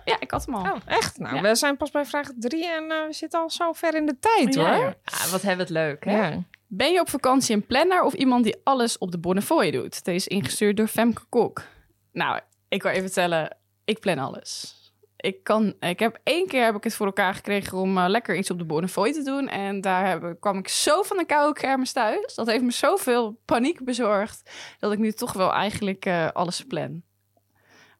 D: Ja, ik had hem al.
E: Oh, echt? Nou,
D: Ja.
E: we zijn pas bij vraag drie en eh, we zitten al zo ver in de tijd,
D: Oh, Ja,
E: hoor.
F: Ah, wat hebben we het leuk, hè?
E: Ja.
D: Ben je op vakantie een planner of iemand die alles op de Bonnefoy doet? Deze is ingestuurd door Femke Kok. Nou, ik wil even vertellen, ik plan alles. Ik, kan, ik heb één keer heb ik het voor elkaar gekregen om eh, lekker iets op de Bonnefoy te doen. En daar heb, ik- kwam ik zo van de koude kermis thuis. Dat heeft me zoveel paniek bezorgd. Dat ik nu toch wel eigenlijk eh, alles plan.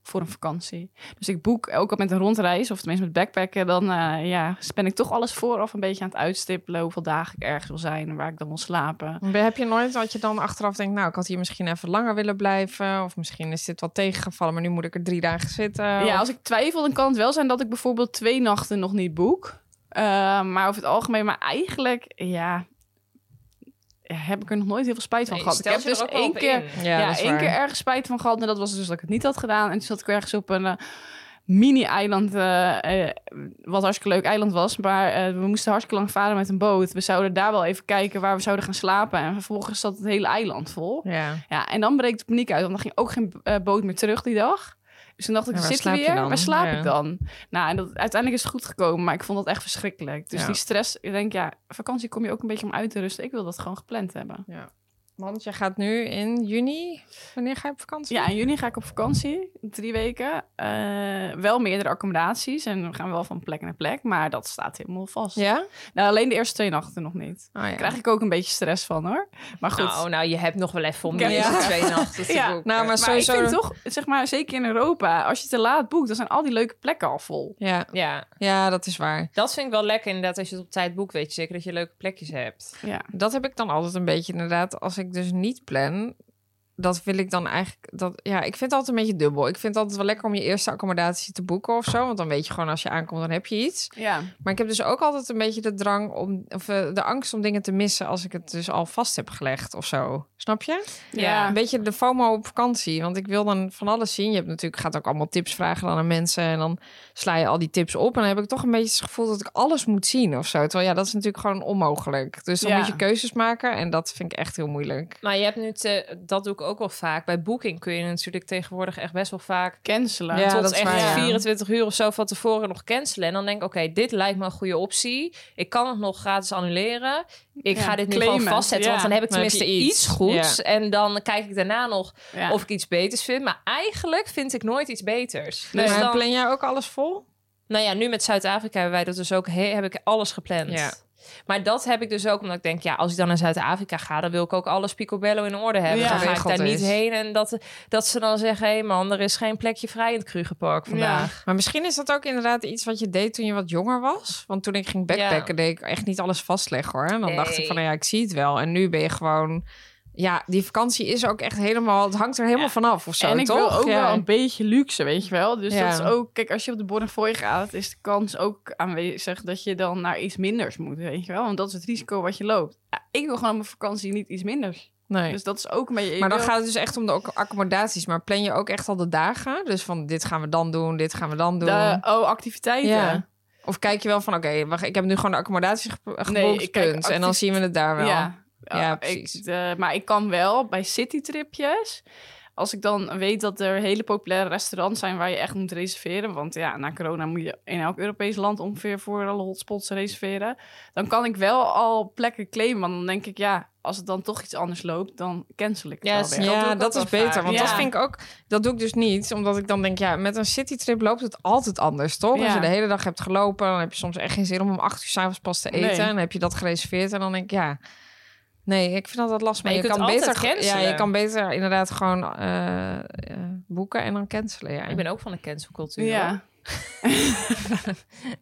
D: Voor een vakantie. Dus ik boek ook al met een rondreis, of tenminste met backpacken. Dan eh, ja, span ik toch alles vooraf een beetje aan het uitstippelen. Hoeveel dagen ik ergens wil zijn en waar ik dan wil slapen.
E: Ben- Heb je nooit dat je dan achteraf denkt, nou, ik had hier misschien even langer willen blijven. Of misschien is dit wat tegengevallen, maar nu moet ik er drie dagen zitten.
D: Ja,
F: Oh.
E: Of-
D: als ik twijfel, dan kan het wel zijn dat ik bijvoorbeeld twee nachten nog niet boek. Eh, maar over het algemeen, maar eigenlijk, ja, heb ik er nog nooit heel veel spijt van
F: Nee,
D: gehad. Ik
F: stel
D: heb
F: je er
D: dus
F: ook wel
D: één
F: op
D: keer,
F: in.
E: ja,
D: ja,
E: dat is
D: één
E: waar.
D: keer erg spijt van gehad. En dat was dus dat ik het niet had gedaan. En toen zat ik ergens op een eh, mini-eiland, eh, eh, wat hartstikke leuk eiland was. Maar eh, we moesten hartstikke lang varen met een boot. We zouden daar wel even kijken waar we zouden gaan slapen. En vervolgens zat het hele eiland vol.
E: Ja.
D: Ja, en dan breekt de paniek uit, want er ging ook geen eh, boot meer terug die dag. Dus toen dacht ik,
E: Ja, waar
D: zit hij
E: slaap je
D: weer?
E: dan?
D: Waar slaap
E: Ja.
D: ik dan? Nou, en dat, uiteindelijk is het goed gekomen, maar ik vond dat echt verschrikkelijk. Dus
E: Ja.
D: die stress, ik denk, ja, vakantie kom je ook een beetje om uit te rusten. Ik wil dat gewoon gepland hebben.
E: Want jij gaat nu in juni. Wanneer ga je op vakantie?
D: Ja, in juni ga ik op vakantie. Drie weken. Eh, wel meerdere accommodaties. En we gaan wel van plek naar plek. Maar dat staat helemaal vast.
E: Ja?
D: Nou, alleen de eerste twee nachten nog niet.
E: Oh, ja.
D: Daar krijg ik ook een beetje stress van hoor. Maar goed.
F: Nou, nou, je hebt nog wel even om de
D: Ja.
F: eerste twee nachten te
D: Ja.
F: boeken.
E: Nou, maar
D: maar ik
E: sowieso.
D: vind toch, zeg maar, zeker in Europa, als je te laat boekt, dan zijn al die leuke plekken al vol.
E: ja.
F: Ja,
E: ja, dat is waar.
F: dat vind ik wel lekker inderdaad. Als je het op tijd boekt, weet je zeker dat je leuke plekjes hebt.
D: Ja.
E: Dat heb ik dan altijd een beetje inderdaad. Als ik dus niet plan, dat wil ik dan eigenlijk. Dat, ja, ik vind het altijd een beetje dubbel. Ik vind het altijd wel lekker om je eerste accommodatie te boeken of zo. Want dan weet je gewoon als je aankomt, dan heb je iets.
D: Ja.
E: Maar ik heb dus ook altijd een beetje de drang om. of eh, de angst om dingen te missen als ik het dus al vast heb gelegd of zo. Snap je?
D: Ja.
E: Een beetje de FOMO op vakantie. Want ik wil dan van alles zien. Je hebt natuurlijk, gaat ook allemaal tips vragen dan aan mensen. En dan sla je al die tips op. En dan heb ik toch een beetje het gevoel dat ik alles moet zien of zo. Terwijl ja, dat is natuurlijk gewoon onmogelijk. Dus dan
D: Ja.
E: moet je keuzes maken. En dat vind ik echt heel moeilijk.
F: Maar je hebt nu, te, dat doe ik ook wel vaak. Bij boeking kun je natuurlijk tegenwoordig echt best wel vaak eh,
D: Cancelen.
E: Ja,
F: tot
E: dat is
F: echt
E: waar, ja.
F: 24 uur of zo van tevoren nog cancelen. En dan denk ik, oké, dit lijkt me een goede optie. Ik kan het nog gratis annuleren. Ik
D: Ja,
F: ga dit nu
D: claimen.
F: gewoon vastzetten,
D: Ja.
F: want dan heb ik
E: Dan heb je
F: tenminste
E: iets.
F: iets. goeds. En dan kijk ik daarna nog
D: Ja.
F: of ik iets beters vind. Maar eigenlijk vind ik nooit iets beters.
D: Nee,
F: dus
E: maar
F: dan,
E: plan jij ook alles vol?
F: nou ja, nu met Zuid-Afrika hebben wij dat dus ook. he- heb ik alles gepland.
E: Ja.
F: Maar dat heb ik dus ook, omdat ik denk, ja, als ik dan naar Zuid-Afrika ga, dan wil ik ook alles picobello in orde hebben.
D: Ja.
F: Dan ga ik
E: Geregeld
F: daar niet
E: is.
F: heen en dat, dat ze dan zeggen, hé man, er is geen plekje vrij in het Krugerpark vandaag.
E: Maar misschien is dat ook inderdaad iets wat je deed toen je wat jonger was. Want toen ik ging backpacken, deed ik echt niet alles vastleggen hoor. En dan dacht ik van,
F: Nee.
E: nou ja, ik zie het wel. En nu ben je gewoon... Ja, die vakantie is ook echt helemaal... Het hangt er helemaal vanaf of zo,
D: en ik
E: toch?
D: wil ook
E: Ja.
D: wel een beetje luxe, weet je wel. Dus
E: Ja.
D: dat is ook... Kijk, als je op de Bonnefoy gaat, is de kans ook aanwezig... dat je dan naar iets minders moet, weet je wel. Want dat is het risico wat je loopt. Ja, ik wil gewoon op mijn vakantie niet iets minders.
E: Nee.
D: Dus dat is ook een beetje... ik
E: Maar dan
D: wil-
E: gaat het dus echt om de ac- accommodaties. Maar plan je ook echt al de dagen? Dus van dit gaan we dan doen, dit gaan we dan doen.
D: De- oh, activiteiten.
E: Ja. Of kijk je wel van, oké, wacht, ik heb nu gewoon de accommodaties gebo- geboekt,
D: ik kijk
E: punt. En dan
D: actief-
E: zien we het daar wel.
D: Ja,
E: Ja,
D: ik-
E: precies.
D: de- maar ik kan wel bij citytripjes. Als ik dan weet dat er hele populaire restaurants zijn waar je echt moet reserveren. Want ja, na corona moet je in elk Europees land ongeveer voor alle hotspots reserveren. Dan kan ik wel al plekken claimen. Want dan denk ik, ja, als het dan toch iets anders loopt, dan cancel ik het
F: Ja,
D: wel
F: is-
D: weer.
F: dat doe
E: Ja,
F: ik
E: dat,
F: ook wel
E: is beter.
F: vaak.
E: Want dat
D: Ja.
E: vind ik ook. Dat doe ik dus niet. Omdat ik dan denk, ja, met een citytrip loopt het altijd anders, toch? Als
D: Ja.
E: je de hele dag hebt gelopen, dan heb je soms echt geen zin om om acht uur s'avonds pas te eten.
D: Nee.
E: En dan heb je dat gereserveerd. En dan denk ik, ja. Nee, ik vind dat dat lastig.
F: Maar je kunt
E: kan
F: altijd
E: beter, ge- ja, je
F: cancelen.
E: kan beter inderdaad gewoon eh, eh, boeken en dan cancelen. Ja.
F: Ik ben ook van de cancelcultuur. hoor.
D: Ja,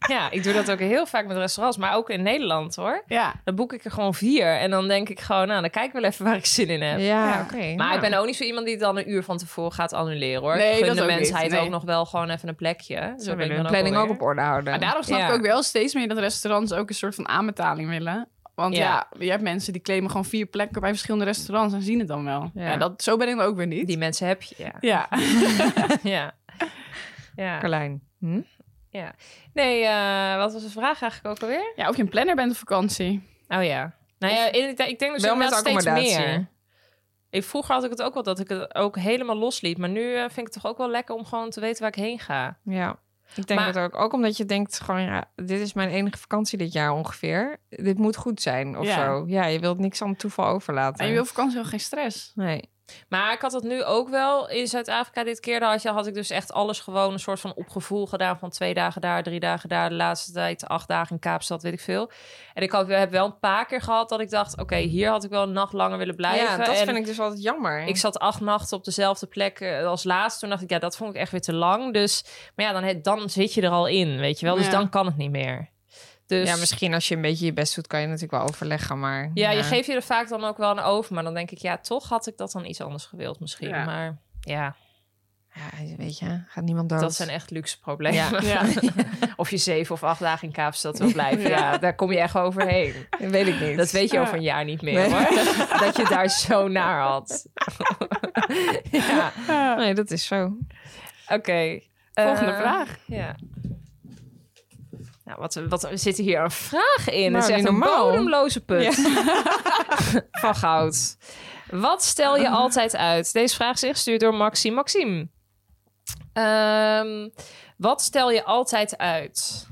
F: ja, ik doe dat ook heel vaak met restaurants, maar ook in Nederland hoor.
D: ja.
F: Dan boek ik er gewoon vier en dan denk ik gewoon, nou, dan kijk ik wel even waar ik zin in heb.
E: Ja,
D: Ja.
E: oké.
F: Maar
E: Nou.
F: ik ben ook niet zo iemand die het dan een uur van tevoren gaat annuleren hoor.
D: Nee,
F: ik gun
D: dat
F: de
D: ook niet.
F: mensheid
D: Nee.
F: ook nog wel gewoon even een plekje.
E: Ze
F: Zo ben ik
E: willen
F: dan
E: de planning
F: wel
E: ook
F: weer.
E: op orde houden.
D: Maar daarom snap
F: Ja.
D: ik ook wel steeds meer dat restaurants ook een soort van aanbetaling willen. Want ja.
F: Ja.
D: je hebt mensen die claimen gewoon vier plekken bij verschillende restaurants en zien het dan wel. Ja.
E: Ja.
D: dat, zo ben ik dan ook weer niet.
F: Die mensen heb je, ja.
D: Ja.
F: ja. ja.
E: Carlijn. Hm?
F: Nee, eh, wat was de vraag eigenlijk ook alweer?
D: Ja, of je een planner bent op vakantie.
F: Oh ja. Nou ja, in- ik, denk dus
E: Wel met
F: inderdaad steeds
E: accommodatie.
F: meer. Ik, vroeger had ik het ook wel dat ik het ook helemaal losliet. Maar nu eh, vind ik het toch ook wel lekker om gewoon te weten waar ik heen ga.
E: Ja, ik denk
F: Maar-
E: dat ook. Ook omdat je denkt gewoon, ja, dit is mijn enige vakantie dit jaar ongeveer. Dit moet goed zijn of
D: Ja.
E: zo. Ja, je wilt niks aan toeval overlaten.
D: En je wil op vakantie ook geen stress.
E: Nee.
F: Maar ik had dat nu ook wel in Zuid-Afrika dit keer. Daar had, je, had ik dus echt alles gewoon een soort van opgevoel gedaan. Van twee dagen daar, drie dagen daar. De laatste tijd acht dagen in Kaapstad, weet ik veel. En ik had, heb wel een paar keer gehad dat ik dacht... Oké, hier had ik wel een nacht langer willen blijven.
E: ja, dat
F: En-
E: vind ik dus altijd jammer.
F: Ik zat acht nachten op dezelfde plek eh, als laatst. Toen dacht ik, ja, dat vond ik echt weer te lang. Dus, maar ja, dan, he- dan zit je er al in, weet je wel. Dus
D: Ja.
F: dan kan het niet meer. Dus,
E: Ja, misschien als je een beetje je best doet, kan je natuurlijk wel overleggen. Maar
F: Ja, je geeft je er vaak dan ook wel aan over. Maar dan denk ik, ja, toch had ik dat dan iets anders gewild misschien.
D: Ja.
F: Maar ja,
E: Ja, weet je, gaat niemand dood.
F: dat zijn echt luxe problemen.
D: Ja.
F: Of je zeven of acht dagen in Kaapstad wil blijven. Ja, daar kom je echt wel overheen.
E: weet ik niet.
F: Dat weet je
D: Ja.
F: over een jaar niet meer,
E: Nee.
F: hoor. Dat je het daar zo naar had. ja,
E: Nee, dat is zo.
F: oké.
D: Volgende
F: Eh,
D: vraag.
F: Ja. Nou, wat, wat er zit hier een vraag in?
E: Nou,
F: het is echt
E: niet
F: een
E: normaal.
F: bodemloze put van goud.
E: Ah.
F: Wat stel je altijd uit? Deze vraag is ingestuurd door Maxime. Maxime. Ehm, wat stel je altijd uit?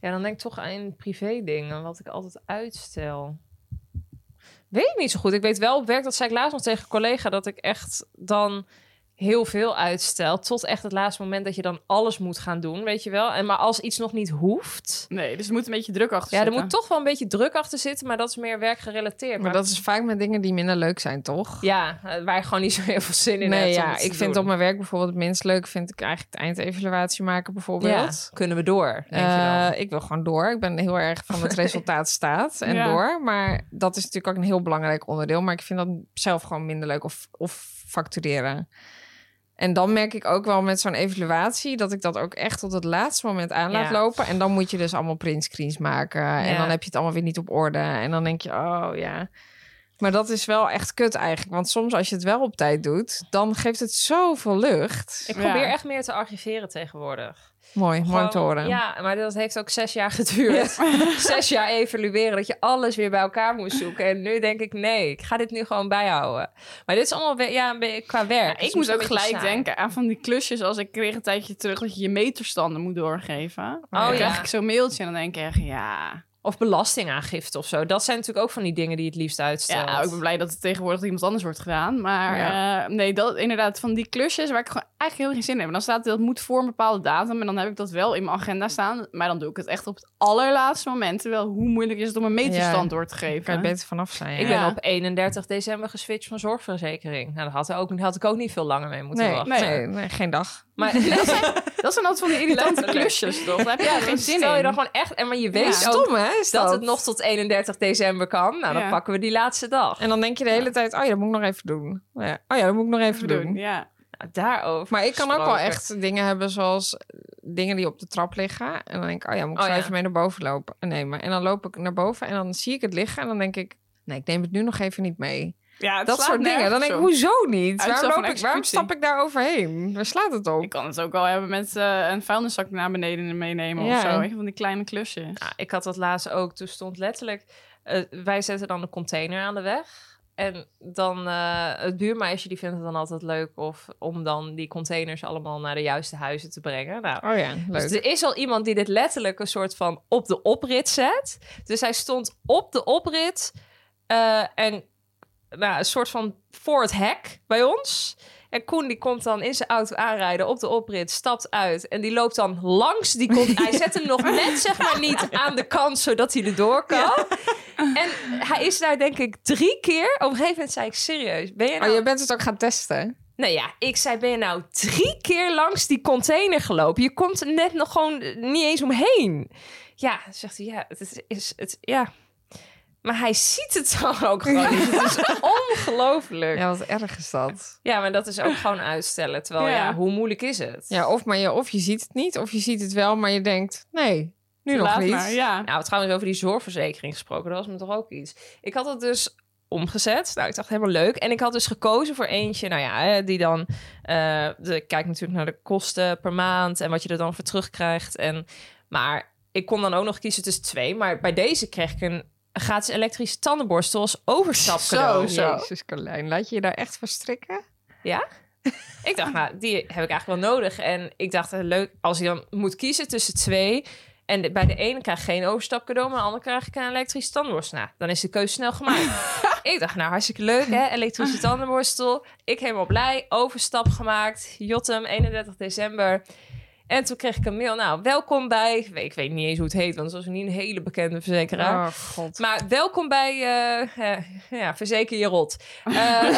F: Ja, dan denk ik toch aan privé dingen, wat ik altijd uitstel. Weet ik niet zo goed. Ik weet wel op werk, dat zei ik laatst nog tegen een collega, dat ik echt dan heel veel uitstel. Tot echt het laatste moment dat je dan alles moet gaan doen, weet je wel. En maar als iets nog niet hoeft.
D: Nee, dus er moet een beetje druk achter
F: Ja, er
D: zitten.
F: moet toch wel een beetje druk achter zitten, maar dat is meer werkgerelateerd.
E: Maar dat is vaak met dingen die minder leuk zijn, toch?
F: Ja, eh, waar je gewoon niet zo heel veel zin in
E: nee,
F: hebt. om
E: ja,
F: het te
E: ik vind
F: doen.
E: op mijn werk bijvoorbeeld het minst leuk, vind ik eigenlijk het eindevaluatie maken bijvoorbeeld.
F: Ja, kunnen we door, denk je
E: Eh, ik wil gewoon door. Ik ben heel erg van het resultaat staat en
D: Ja.
E: door. Maar dat is natuurlijk ook een heel belangrijk onderdeel. Maar ik vind dat zelf gewoon minder leuk of, of factureren. En dan merk ik ook wel met zo'n evaluatie dat ik dat ook echt tot het laatste moment aan laat
F: Ja.
E: lopen. En dan moet je dus allemaal printscreens maken. En
F: Ja.
E: dan heb je het allemaal weer niet op orde. En dan denk je, oh ja. Maar dat is wel echt kut eigenlijk. Want soms als je het wel op tijd doet, dan geeft het zoveel lucht.
F: Ik probeer
D: Ja.
F: echt meer te archiveren tegenwoordig.
E: mooi, mooi te
F: Gewoon-
E: horen.
F: Ja, maar dat heeft ook zes jaar geduurd. zes jaar evalueren, dat je alles weer bij elkaar moest zoeken. En nu denk ik, nee, ik ga dit nu gewoon bijhouden. Maar dit is allemaal we- ja, een be- qua werk.
D: Ja,
F: Dus
D: ik moest
F: een
D: ook
F: beetje
D: gelijk
F: saai.
D: denken aan van die klusjes als ik kreeg een tijdje terug dat je je meterstanden moet doorgeven. Oh, dan
F: ja.
D: krijg ik zo'n mailtje en dan denk ik echt, ja.
F: Of belastingaangifte of zo. Dat zijn natuurlijk ook van die dingen die je het liefst uitstelt.
D: Ja, ik ben blij dat het tegenwoordig door iemand anders wordt gedaan. Maar
E: Ja.
D: eh, nee, dat inderdaad van die klusjes waar ik gewoon eigenlijk heel geen zin in heb. En dan staat dat moet voor een bepaalde datum. En dan heb ik dat wel in mijn agenda staan. Maar dan doe ik het echt op het allerlaatste moment. Terwijl hoe moeilijk is het om een meterstand
E: Ja.
D: door te geven?
E: Kan je beter vanaf zijn. ja.
F: Ik
D: Ja.
F: ben op 31 december geswitcht van zorgverzekering. Nou, daar had, er ook, daar had ik ook niet veel langer mee moeten
E: Nee,
F: wachten.
E: nee. Nee, geen dag.
F: Maar
D: Dat zijn altijd van die irritante
F: Letterlijk.
D: klusjes, toch? Daar heb dus je
F: ja,
D: geen
F: dan
D: zin
F: stel
D: in.
F: je dan gewoon echt... En maar je weet
D: Ja.
F: ook
E: Stom, hè? Is
F: dat, het nog tot 31 december kan. Nou, dan
D: Ja.
F: pakken we die laatste dag.
E: En dan denk je de hele tijd, oh ja, dat moet ik nog even doen. Ja. Oh ja, dat moet ik nog even doen.
D: Ja.
F: Nou, daarover
E: Maar ik kan ook wel
F: gesproken.
E: echt dingen hebben zoals eh, dingen die op de trap liggen. En dan denk ik, oh ja, moet ik
F: Oh
E: zo
F: ja.
E: even mee naar boven lopen en nemen. En dan loop ik naar boven en dan zie ik het liggen. En dan denk ik, nee, ik neem het nu nog even niet mee.
D: Ja, het
E: dat
D: slaat
E: soort dingen. Dan
D: nergens
E: denk ik,
D: op.
E: hoezo niet?
D: Uitstel
E: Waarom,
D: van
E: loop ik, waarom
D: executie.
E: stap ik daar overheen? Waar slaat het op?
D: Ik kan het ook wel hebben met eh, een vuilniszak naar beneden meenemen
E: Ja.
D: of zo. Weet je, Van die kleine klusjes.
F: Nou, ik had dat laatst ook. Toen stond letterlijk... eh, wij zetten dan een container aan de weg. En dan eh, het buurmeisje die vindt het dan altijd leuk... Of, om dan die containers allemaal naar de juiste huizen te brengen. Nou,
E: Oh ja, leuk.
F: Dus er is al iemand die dit letterlijk een soort van op de oprit zet. Dus hij stond op de oprit eh, en nou, een soort van voor het hek bij ons. En Koen die komt dan in zijn auto aanrijden op de oprit, stapt uit en die loopt dan langs die kon- Hij zet hem nog net zeg maar niet aan de kant zodat hij erdoor kan. En hij is daar denk ik drie keer. Op een gegeven moment zei ik serieus, ben je nou
E: Oh, je bent het ook gaan testen.
F: nou ja, ik zei, ben je nou drie keer langs die container gelopen? Je komt er net nog gewoon eh, niet eens omheen. Ja, zegt hij, ja, het is, is het, ja. Maar hij ziet het dan ook gewoon niet. Het is ongelooflijk. Ja.
E: Ja, wat erg is dat.
F: maar dat is ook gewoon uitstellen. Terwijl,
D: Ja.
F: ja, hoe moeilijk is het?
E: Ja, of, maar je, of je ziet het niet, of je ziet het wel, maar je denkt, nee, nu nog
D: Laat
E: niet.
D: maar, ja.
F: Nou, trouwens, over die zorgverzekering gesproken, dat was me toch ook iets. Ik had het dus omgezet. Nou, ik dacht helemaal leuk. En ik had dus gekozen voor eentje, nou ja, eh, die dan... eh de, ik kijk natuurlijk naar de kosten per maand en wat je er dan voor terugkrijgt. En, maar ik kon dan ook nog kiezen tussen twee. Maar bij deze kreeg ik een gratis elektrische tandenborstel als overstapcadeau.
D: Zo, zo.
E: Jezus, Carlijn, laat je je daar echt voor strikken?
F: Ik dacht, nou, die heb ik eigenlijk wel nodig. En ik dacht, eh, leuk, als je dan moet kiezen tussen twee... En de- bij de ene krijg ik geen overstapcadeau, maar de andere krijg ik een elektrische tandenborstel. Nou, dan is de keuze snel gemaakt. ik dacht, nou, hartstikke leuk, hè? Elektrische tandenborstel. Ik helemaal blij, overstap gemaakt. Jotem, 31 december. En toen kreeg ik een mail. Nou, welkom bij... Ik weet- Ik weet niet eens hoe het heet, want het was niet een hele bekende
E: Oh,
F: verzekeraar.
E: god.
F: Maar welkom bij, eh, eh, ja, verzeker je rot. Eh,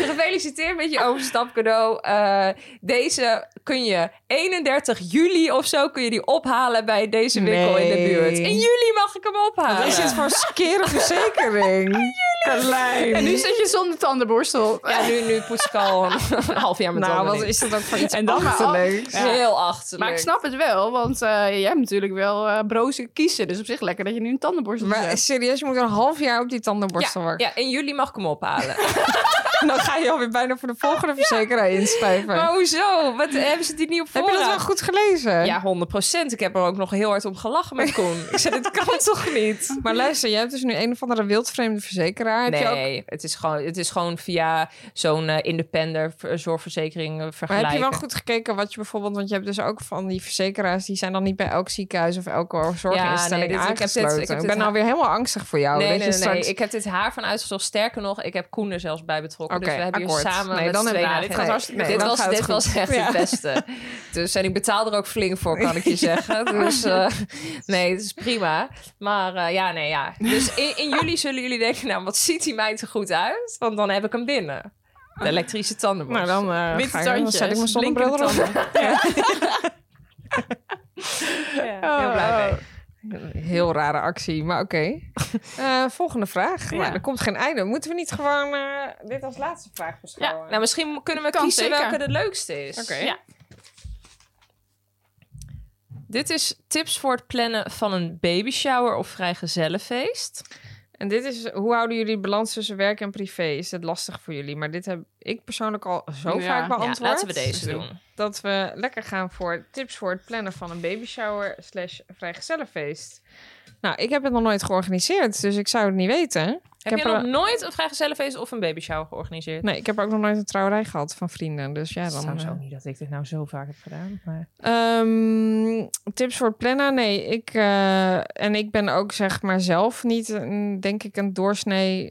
F: gefeliciteerd met je overstapcadeau. Eh, deze kun je 31 juli of zo kun je die ophalen bij deze winkel in de
E: Nee.
F: buurt. In juli mag ik hem ophalen.
E: Wat is dit voor skere verzekering? Carlijn.
D: En nu zit je zonder tandenborstel.
F: Ja, nu, nu poets ik al een, een half jaar met
E: nou,
F: tanden
E: wat
F: in.
E: is dat ook voor iets
D: En dan maar af.
E: achterlijks?
D: Ja.
F: Heel achterlijk.
D: Maar ik snap het wel, want eh, jij hebt natuurlijk wel eh broze kiezen. Dus op zich lekker dat je nu een tandenborstel
E: Maar
D: hebt.
E: serieus, je moet een half jaar op die tandenborstel
F: ja,
E: wachten.
F: ja, in juli mag ik hem ophalen.
E: En dan ga je alweer bijna voor de volgende verzekeraar inschrijven.
F: Maar hoezo? Wat, hebben ze die niet op
E: Heb je dat wel
F: voorraad?
E: goed gelezen?
F: Ja, 100 Ik heb er ook nog heel hard om gelachen met Koen. Ik zei, dit kan toch niet?
E: Maar luister, jij hebt dus nu een of andere wildvreemde verzekeraar. Heb je ook,
F: nee, het, is gewoon, het is gewoon via zo'n eh, independent ver- zorgverzekering eh,
E: maar
F: vergelijken.
E: heb je wel goed gekeken wat je bijvoorbeeld... Want je hebt dus ook van die verzekeraars... die zijn dan niet bij elk ziekenhuis of elke
F: Ja, nee,
E: zorginstelling
F: dit- ik heb dit-
E: aangesloten. Ik,
F: ik heb dit
E: ben
F: ha-
E: alweer helemaal angstig voor jou.
F: Nee,
E: dat
F: nee,
E: Oh, je
F: nee,
E: straks...
F: Ik heb dit haar van uitgezocht. Sterker nog, ik heb Koen er zelfs bij betrokken.
E: Oké,
F: dus we hebben
E: akkoord.
F: hier samen
E: Nee,
F: met
E: dan
F: z'n
E: hebben we-
F: tweeën
E: dit
F: geen-
E: gaat hartstikke
F: dit
E: goed. Dan
F: was,
E: gaat het
F: dit
E: goed.
F: was echt
E: Ja.
F: het beste. Dus, en ik betaal er ook flink voor, kan ik je zeggen. Dus eh, nee, het is prima. Maar eh, ja, nee, ja. Dus in, in juli zullen jullie denken, nou, wat ziet hij mij te goed uit? Want dan heb ik hem binnen. De elektrische tandenborstel.
E: Nou, dan, eh, ga ik,
D: Witte
E: dan zet ik mijn
D: tandjes,
E: zonnebril
D: blinkende
E: erop.
D: tanden.
F: heel
D: Oh,
F: blij mee.
E: Heel rare actie, maar oké. Eh, volgende vraag. Nou, er komt geen einde. Moeten we niet gewoon eh, dit als laatste vraag
F: Ja,
E: beschouwen?
F: nou, misschien kunnen we
D: Kan
F: kiezen
D: zeker.
F: welke de leukste is.
E: Oké.
D: Ja.
F: Dit is tips voor het plannen van een babyshower of vrijgezellenfeest.
E: En dit is, hoe houden jullie balans tussen werk en privé? Is dit lastig voor jullie? Maar dit heb ik persoonlijk al zo
D: Ja.
E: vaak beantwoord.
F: Ja, laten we deze doen.
E: Dat we lekker gaan voor tips voor het plannen van een babyshower slash vrijgezellenfeest. Nou, ik heb het nog nooit georganiseerd, dus ik zou het niet weten.
F: Heb,
E: heb
F: je
E: er-
F: nog nooit een vrijgezellenfeest of een babyshower georganiseerd?
E: Nee, ik heb ook nog nooit een trouwerij gehad van vrienden. Dus ja, dan... eh,
F: niet dat ik dit nou zo vaak heb gedaan. Maar...
E: Ehm, tips voor het plannen? Nee, ik, eh, en ik ben ook zeg maar zelf niet, een, denk ik, een doorsnee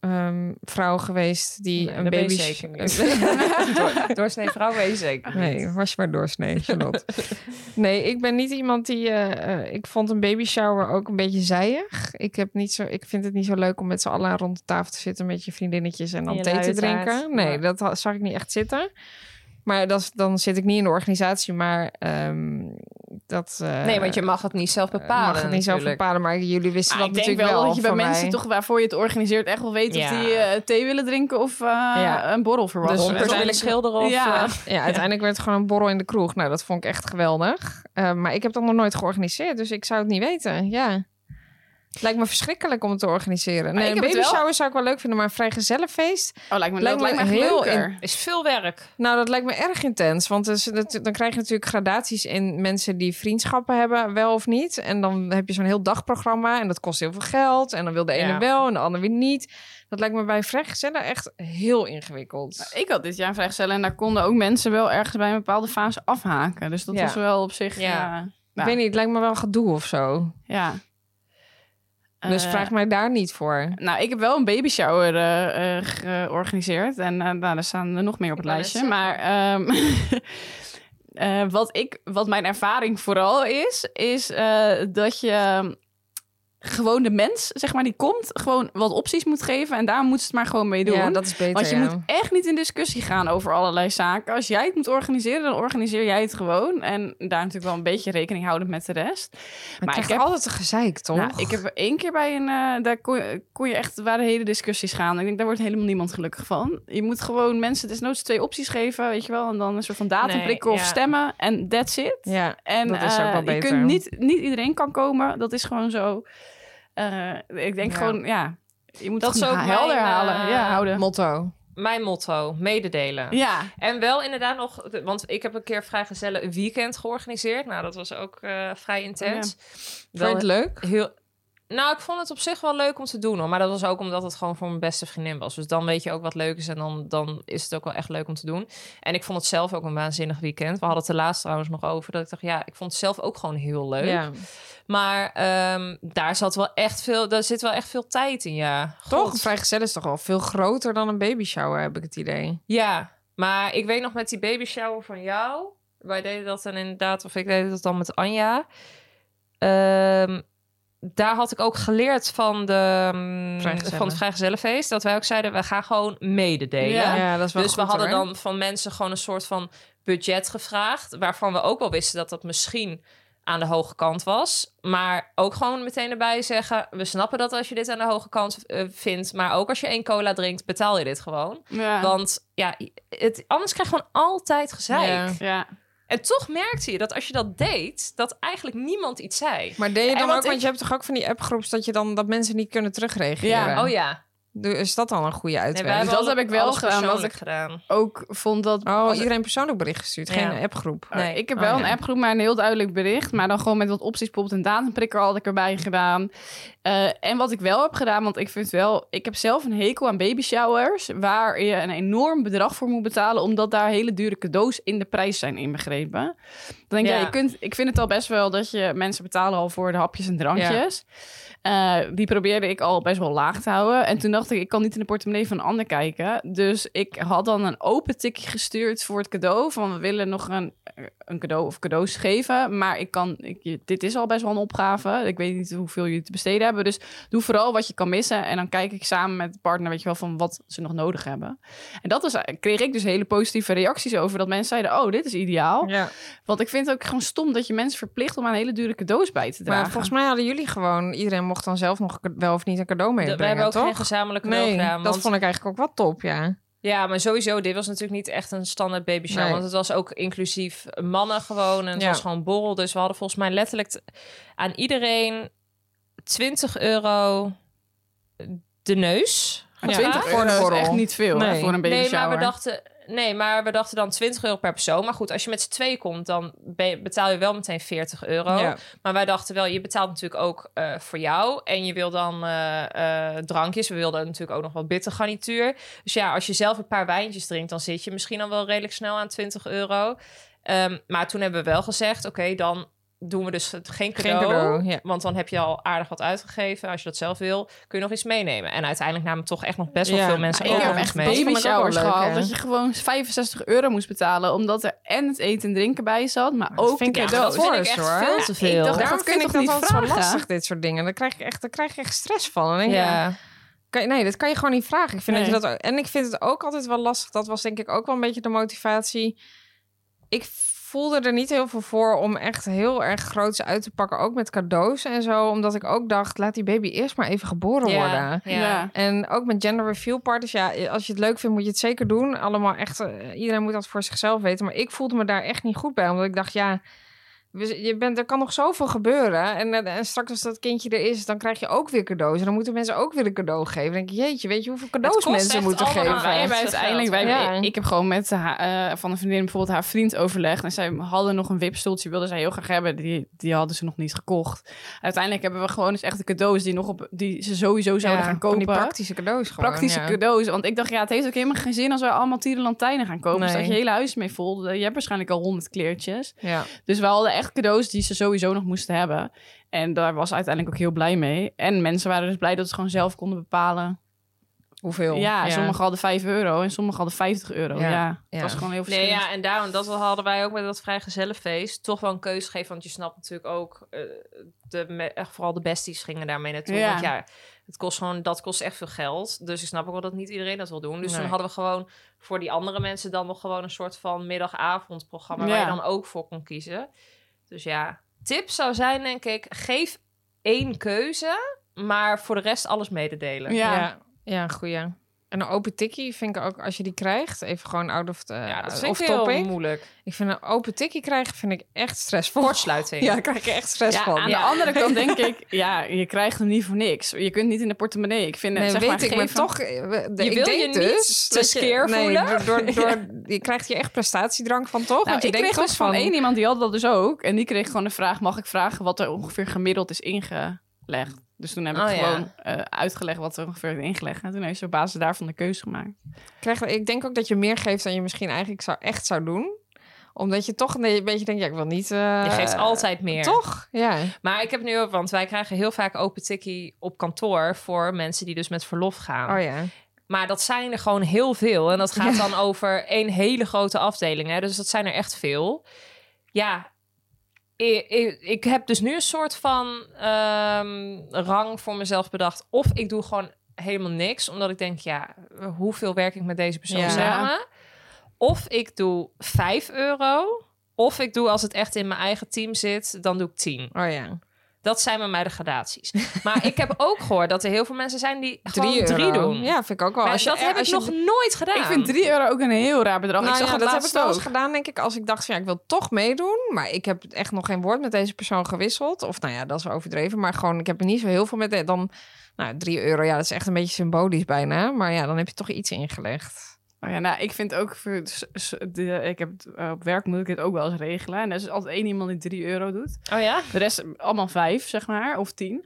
E: ehm, vrouw geweest die
F: Nee,
E: een
F: dat ben je
E: baby.
F: zeker niet. Door, doorsnee vrouw weet je zeker.
E: Nee, was je maar doorsnee, Charlotte. nee, ik ben niet iemand die. eh, eh, ik vond een baby shower ook een beetje zijig. Ik, heb niet zo, ik vind het niet zo leuk om met z'n allen rond de tafel te zitten met je vriendinnetjes en dan
F: je
E: thee te
F: luie taart.
E: drinken. Nee,
F: Ja.
E: dat ha- zag ik niet echt zitten. Maar dat, is- dan zit ik niet in de organisatie, maar ehm, dat. eh,
F: Nee, want je mag het niet zelf bepalen.
E: mag het niet zelf
F: natuurlijk.
E: bepalen, maar jullie wisten
D: Ah,
E: dat
D: ik denk
E: natuurlijk
D: wel dat je bij
E: van
D: mensen
E: mij.
D: toch waarvoor je het organiseert echt wel weet of
F: Ja.
D: die eh, thee willen drinken of eh,
E: Ja.
D: een borrel verwachten.
E: Dus
F: Rompers
E: uiteindelijk-
F: willen schilderen of...
D: Ja.
F: eh,
E: Ja, uiteindelijk werd het gewoon een borrel in de kroeg. Nou, dat vond ik echt geweldig. Eh, maar ik heb dat nog nooit georganiseerd, dus ik zou het niet weten. Ja. Het lijkt me verschrikkelijk om het te organiseren. Nee,
D: ik
E: een
D: heb het wel-
E: babyshower zou ik wel leuk vinden, maar een vrijgezellenfeest...
D: oh, lijkt me,
E: Lijkt
D: lijkt
E: me
D: me, lijkt me
E: heel
D: heel leuker.
E: in-
F: is veel werk.
E: Nou, dat lijkt me erg intens. Want dus, dat- dan krijg je natuurlijk gradaties in mensen die vriendschappen hebben, wel of niet. En dan heb je zo'n heel dagprogramma en dat kost heel veel geld. En dan wil de ene
F: Ja.
E: wel en de ander weer niet. Dat lijkt me bij vrijgezellen echt heel ingewikkeld.
D: Ik had dit jaar een vrijgezellen en daar konden ook mensen wel ergens bij een bepaalde fase afhaken. Dus dat
E: Ja.
D: was wel op zich...
F: Ja.
D: Ja.
E: Ik
D: nou,
E: weet niet, het lijkt me wel gedoe of zo.
D: ja.
E: Dus
D: Eh,
E: vraag mij daar niet voor.
D: Nou, ik heb wel een baby shower eh, eh, georganiseerd. En eh, nou, daar staan er nog meer op het
F: wou
D: lijstje.
F: net
D: Maar ehm, eh, wat, ik, wat mijn ervaring vooral is, is eh, dat je gewoon de mens, zeg maar, die komt, gewoon wat opties moet geven. En daar moet ze het maar gewoon mee doen.
E: Ja, dat is beter.
D: Want je
E: ja.
D: moet echt niet in discussie gaan over allerlei zaken. Als jij het moet organiseren, dan organiseer jij het gewoon. En daar natuurlijk wel een beetje rekening houden met de rest.
E: Maar, ik heb altijd een gezeik, toch?
D: Nou, ik heb er één keer bij een... eh, daar kon je, kon je echt... waren hele discussies gaan. Ik denk, daar wordt helemaal niemand gelukkig van. Je moet gewoon mensen desnoods twee opties geven, weet je wel. En dan een soort van datum
F: Nee,
D: prikken of
F: ja.
D: stemmen. En that's it.
E: Ja,
D: En
E: dat is ook
D: eh,
E: wel beter.
D: je kunt niet... Niet iedereen kan komen. Dat is gewoon zo. Eh, ik denk
E: Ja.
D: gewoon, ja... Je moet
F: Dat
D: het
F: is
D: gewoon
F: ook
D: helder
F: mijn, eh,
D: halen. Ja, houden.
E: Motto.
F: Mijn motto, mededelen.
D: Ja.
F: En wel inderdaad nog, want ik heb een keer vrijgezellen een weekend georganiseerd. Nou, dat was ook eh, vrij intens.
E: Vond je het leuk?
F: heel. Nou, ik vond het op zich wel leuk om te doen, hoor. maar dat was ook omdat het gewoon voor mijn beste vriendin was. Dus dan weet je ook wat leuk is en dan, dan is het ook wel echt leuk om te doen. En ik vond het zelf ook een waanzinnig weekend. We hadden het er laatst trouwens nog over dat ik dacht, ja, ik vond het zelf ook gewoon heel leuk.
E: Ja.
F: Maar ehm, daar zat wel echt veel, daar zit wel echt veel tijd in, ja.
E: Toch?
F: God.
E: Een vrijgezel is toch wel veel groter dan een babyshower, heb ik het idee.
F: Ja, maar ik weet nog met die baby shower van jou. Wij deden dat dan inderdaad, of ik deed dat dan met Anja. Ehm, daar had ik ook geleerd van, de, mm,
E: Vrijgezellen.
F: van het vrijgezellenfeest. Dat wij ook zeiden, we gaan gewoon mededelen.
D: Ja.
E: dat is wel
F: Dus we
E: goed,
F: hadden
E: hoor.
F: dan van mensen gewoon een soort van budget gevraagd. Waarvan we ook wel wisten dat dat misschien aan de hoge kant was. Maar ook gewoon meteen erbij zeggen: we snappen dat als je dit aan de hoge kant eh, vindt. Maar ook als je één cola drinkt, betaal je dit gewoon.
D: Ja.
F: Want ja, het, anders krijg je gewoon altijd gezeik.
E: Ja.
D: ja.
F: En toch merkte je dat als je dat deed, dat eigenlijk niemand iets zei.
E: Maar deed je
F: En
E: dan
F: want
E: ook, want
F: ik-
E: je hebt toch ook van die appgroeps dat, je dan, dat mensen niet kunnen terugreageren?
D: Ja,
F: Oh ja.
E: Doe- Is dat al een goede uitweg?
D: hebben dat heb ik wel
F: alles
D: gedaan, want
F: persoonlijk
D: ik-
F: gedaan.
D: Ook vond dat...
E: Oh,
D: als-
E: iedereen persoonlijk bericht gestuurd. Geen
F: Ja.
E: appgroep.
D: Oh,
F: Nee.
D: Ik heb
E: Oh,
D: wel
E: ja.
D: een appgroep, maar een heel duidelijk bericht. Maar dan gewoon met wat opties, bijvoorbeeld een datumprikker had ik erbij gedaan. Eh, en wat ik wel heb gedaan, want ik vind wel... Ik heb zelf een hekel aan baby showers, waar je een enorm bedrag voor moet betalen, omdat daar hele dure cadeaus in de prijs zijn inbegrepen. Dan denk ik, ja.
F: Ja.
D: je kunt, ik vind het al best wel dat je mensen betalen al voor de hapjes en drankjes. Eh, die probeerde ik al best wel laag te houden. En toen dacht ik, ik kan niet in de portemonnee van een ander kijken. Dus ik had dan een open tikje gestuurd voor het cadeau. Van we willen nog een, een cadeau of cadeaus geven. Maar ik kan, ik, je- dit is al best wel een opgave. Ik weet niet hoeveel jullie te besteden hebben. Dus doe vooral wat je kan missen. En dan kijk ik samen met de partner, weet je wel, van wat ze nog nodig hebben. En dat is, kreeg ik dus hele positieve reacties over. Dat mensen zeiden, oh, dit is ideaal.
E: Ja.
D: Want ik vind het ook gewoon stom dat je mensen verplicht om aan hele dure cadeaus bij te dragen.
E: Maar volgens mij hadden jullie gewoon... Iedereen mocht dan zelf nog wel of niet een cadeau
F: We
E: meebrengen,
F: hebben ook geen
E: toch?
F: gezamenlijk cadeau
E: Nee,
F: gedaan.
E: dat
F: want-
E: vond ik eigenlijk ook wel top, ja.
F: Ja, maar sowieso, dit was natuurlijk niet echt een standaard baby shower.
E: Nee.
F: Want het was ook inclusief mannen gewoon. En het
E: Ja.
F: was gewoon borrel. Dus we hadden volgens mij letterlijk t- aan iedereen 20 euro de neus.
D: Maar
E: Ja.
D: 20
E: Voor
D: euro
E: een
D: is
E: borrel.
D: echt niet veel hè,
E: Nee.
D: voor een baby
F: Nee maar,
D: shower.
F: we dachten, nee, maar we dachten dan 20 euro per persoon. Maar goed, als je met z'n twee komt, dan be- betaal je wel meteen 40 euro.
E: Ja.
F: Maar wij dachten wel, je betaalt natuurlijk ook eh, voor jou. En je wil dan eh, eh, drankjes. We wilden natuurlijk ook nog wat bittergarnituur. Dus ja, als je zelf een paar wijntjes drinkt, dan zit je misschien al wel redelijk snel aan 20 euro. Ehm, maar toen hebben we wel gezegd, oké, dan doen we dus het, geen cadeau.
E: cadeau, ja.
F: Want dan heb je al aardig wat uitgegeven. Als je dat zelf wil, kun je nog iets meenemen. En uiteindelijk namen toch echt nog best wel
E: Ja,
F: veel mensen
D: Ik
E: Oh, Ja,
F: ook
D: heb
F: nog
D: echt
F: mee.
E: vond ik ook
D: baby
E: wel
D: showers
E: leuk,
D: gehad.
E: hè?
D: Dat je gewoon 65 euro moest betalen. Omdat er en het eten en drinken bij zat. Maar
E: dat
D: ook de
E: vind ik echt
D: cadeaus.
E: wel
F: vind ik echt
E: hoor.
F: veel te
D: Ja, ik
F: veel.
D: dacht-
E: Daarom
D: dat kun je
E: vind ik
D: toch
E: dat
D: niet
E: altijd zo
D: vragen?
E: lastig, dit soort dingen. Daar krijg ik echt, daar krijg ik echt stress van. Dan denk ik,
F: ja.
E: Kan je- nee, dat kan je gewoon niet vragen. Ik vind
D: Nee.
E: dat je dat ook, en ik vind het ook altijd wel lastig. Dat was denk ik ook wel een beetje de motivatie. Ik voelde er niet heel veel voor om echt heel erg groots uit te pakken. Ook met cadeaus en zo. Omdat ik ook dacht, laat die baby eerst maar even geboren worden.
F: Ja.
D: Ja.
E: En ook met gender reveal parties. Ja, als je het leuk vindt, moet je het zeker doen. Allemaal echt, eh, iedereen moet dat voor zichzelf weten. Maar ik voelde me daar echt niet goed bij. Omdat ik dacht, ja, we- je bent, er kan nog zoveel gebeuren. En, eh, en straks als dat kindje er is, dan krijg je ook weer cadeaus. En dan moeten mensen ook weer een cadeau geven. Dan denk ik, jeetje, weet je hoeveel
F: Het
E: cadeaus
F: kost
E: mensen
F: echt
E: moeten
F: allemaal
E: geven?
D: wij
F: echt
D: hebben
F: veel
D: uiteindelijk,
F: geld,
D: wij,
E: ja.
D: ik, ik heb gewoon met haar, eh, van een vriendin bijvoorbeeld haar vriend overlegd. En zij hadden nog een wipstoeltje, wilden zij heel graag hebben. Die, die hadden ze nog niet gekocht. Uiteindelijk hebben we gewoon eens echt de cadeaus die, nog op, die ze sowieso zouden
E: Ja,
D: gaan
E: van Die
D: kopen.
E: praktische cadeaus gewoon.
D: Praktische
E: ja.
D: cadeaus. Want ik dacht, ja, het heeft ook helemaal geen zin als wij allemaal tierenlantijnen gaan kopen.
E: Nee.
D: Dus dat je hele huis mee vol. Je hebt waarschijnlijk al honderd kleertjes.
E: Ja.
D: Dus we hadden echt cadeaus die ze sowieso nog moesten hebben. En daar was ze uiteindelijk ook heel blij mee. En mensen waren dus blij dat ze gewoon zelf konden bepalen.
E: Hoeveel?
D: Ja, sommigen hadden 5 euro en sommigen hadden 50 euro. Ja,
E: Ja,
D: het
E: ja.
D: was gewoon heel
F: Nee,
D: verschillend.
F: ja, en daarom, dat hadden wij ook met dat vrijgezellenfeest. Toch wel een keuze gegeven, want je snapt natuurlijk ook... eh, de, me- echt vooral de besties gingen daarmee naartoe.
D: Ja.
F: Want ja, het kost gewoon, dat kost echt veel geld. Dus ik snap ook wel dat niet iedereen dat wil doen. Dus
E: Nee.
F: toen hadden we gewoon voor die andere mensen... dan nog gewoon een soort van middagavondprogramma...
D: Ja.
F: waar je dan ook voor kon kiezen. Dus ja, tip zou zijn denk ik... geef één keuze, maar voor de rest alles mededelen.
D: Ja.
E: Ja, ja goeie. En een open tikkie vind ik ook, als je die krijgt, even gewoon out of, the,
F: Ja, dat
E: of
F: vind ik heel
E: topic.
F: moeilijk.
E: Ik vind een open tikkie krijgen, vind ik echt stressvol.
F: Kortsluiting.
E: Ja, daar krijg je echt stress
F: Ja,
E: van.
D: Aan
F: Ja.
D: de andere kant denk ik, ja, je krijgt hem niet voor niks. Je kunt niet in de portemonnee. Ik vind het,
E: Nee,
D: zeg
E: weet
D: maar,
E: ik, maar
D: geven-
E: toch... eh, we- de-
F: Je
E: ik
F: wil
E: denk
F: je niet
E: dus
F: te
E: dat je-
F: skeer
E: nee,
F: voelen?
E: door, door, door- je krijgt je echt prestatiedrank van, toch?
D: Nou,
E: Want je
D: ik
E: denkt
D: kreeg
E: toch
D: dus van één iemand, die had dat dus ook. En die kreeg gewoon de vraag, mag ik vragen wat er ongeveer gemiddeld is ingelegd? Dus toen heb ik
F: Oh, ja.
D: gewoon eh, uitgelegd wat er ongeveer is ingelegd. En toen heeft ze op basis daarvan de keuze gemaakt.
E: krijg- ik denk ook dat je meer geeft dan je misschien eigenlijk zou, echt zou doen. Omdat je toch een beetje denkt, ja, ik wil niet... eh,
F: Je geeft altijd meer.
E: Toch? Ja.
F: Maar ik heb nu ook, want wij krijgen heel vaak open tikkie op kantoor voor mensen die dus met verlof gaan.
E: Oh ja.
F: Maar dat zijn er gewoon heel veel. En dat gaat dan over één hele grote afdeling. Hè? Dus dat zijn er echt veel. Ja, ik, ik, ik heb dus nu een soort van ehm, rang voor mezelf bedacht. Of ik doe gewoon helemaal niks, omdat ik denk, ja, hoeveel werk ik met deze persoon
E: Ja.
F: samen? Of ik doe 5 euro. Of ik doe als het echt in mijn eigen team zit, dan doe ik 10.
E: Oh ja.
F: Dat zijn bij mij de gradaties. Maar ik heb ook gehoord dat er heel veel mensen zijn die gewoon drie,
E: euro.
F: doen.
E: Ja, vind ik ook wel. Oh,
F: Maar
E: Als je- eh,
F: dat heb
E: als
F: ik
E: je-
F: nog nooit gedaan.
D: Ik vind 3 euro ook een heel raar bedrag.
E: Nou
D: ik zag
E: ja,
D: het
E: dat heb ik
D: laatst
E: wel eens
D: ook.
E: gedaan, denk ik. Als ik dacht, van, ja, ik wil toch meedoen. Maar ik heb echt nog geen woord met deze persoon gewisseld. Of nou ja, dat is wel overdreven. Maar gewoon, ik heb er niet zo heel veel met. de- Dan, nou, 3 euro, ja, dat is echt een beetje symbolisch bijna. Maar ja, dan heb je toch iets ingelegd.
D: Oh ja, nou, ik vind ook, voor, s- s- de, ik heb, het- eh, op werk moet ik dit ook wel eens regelen. En er is altijd één iemand die 3 euro doet.
F: Oh ja?
D: De rest allemaal 5, zeg maar, of 10.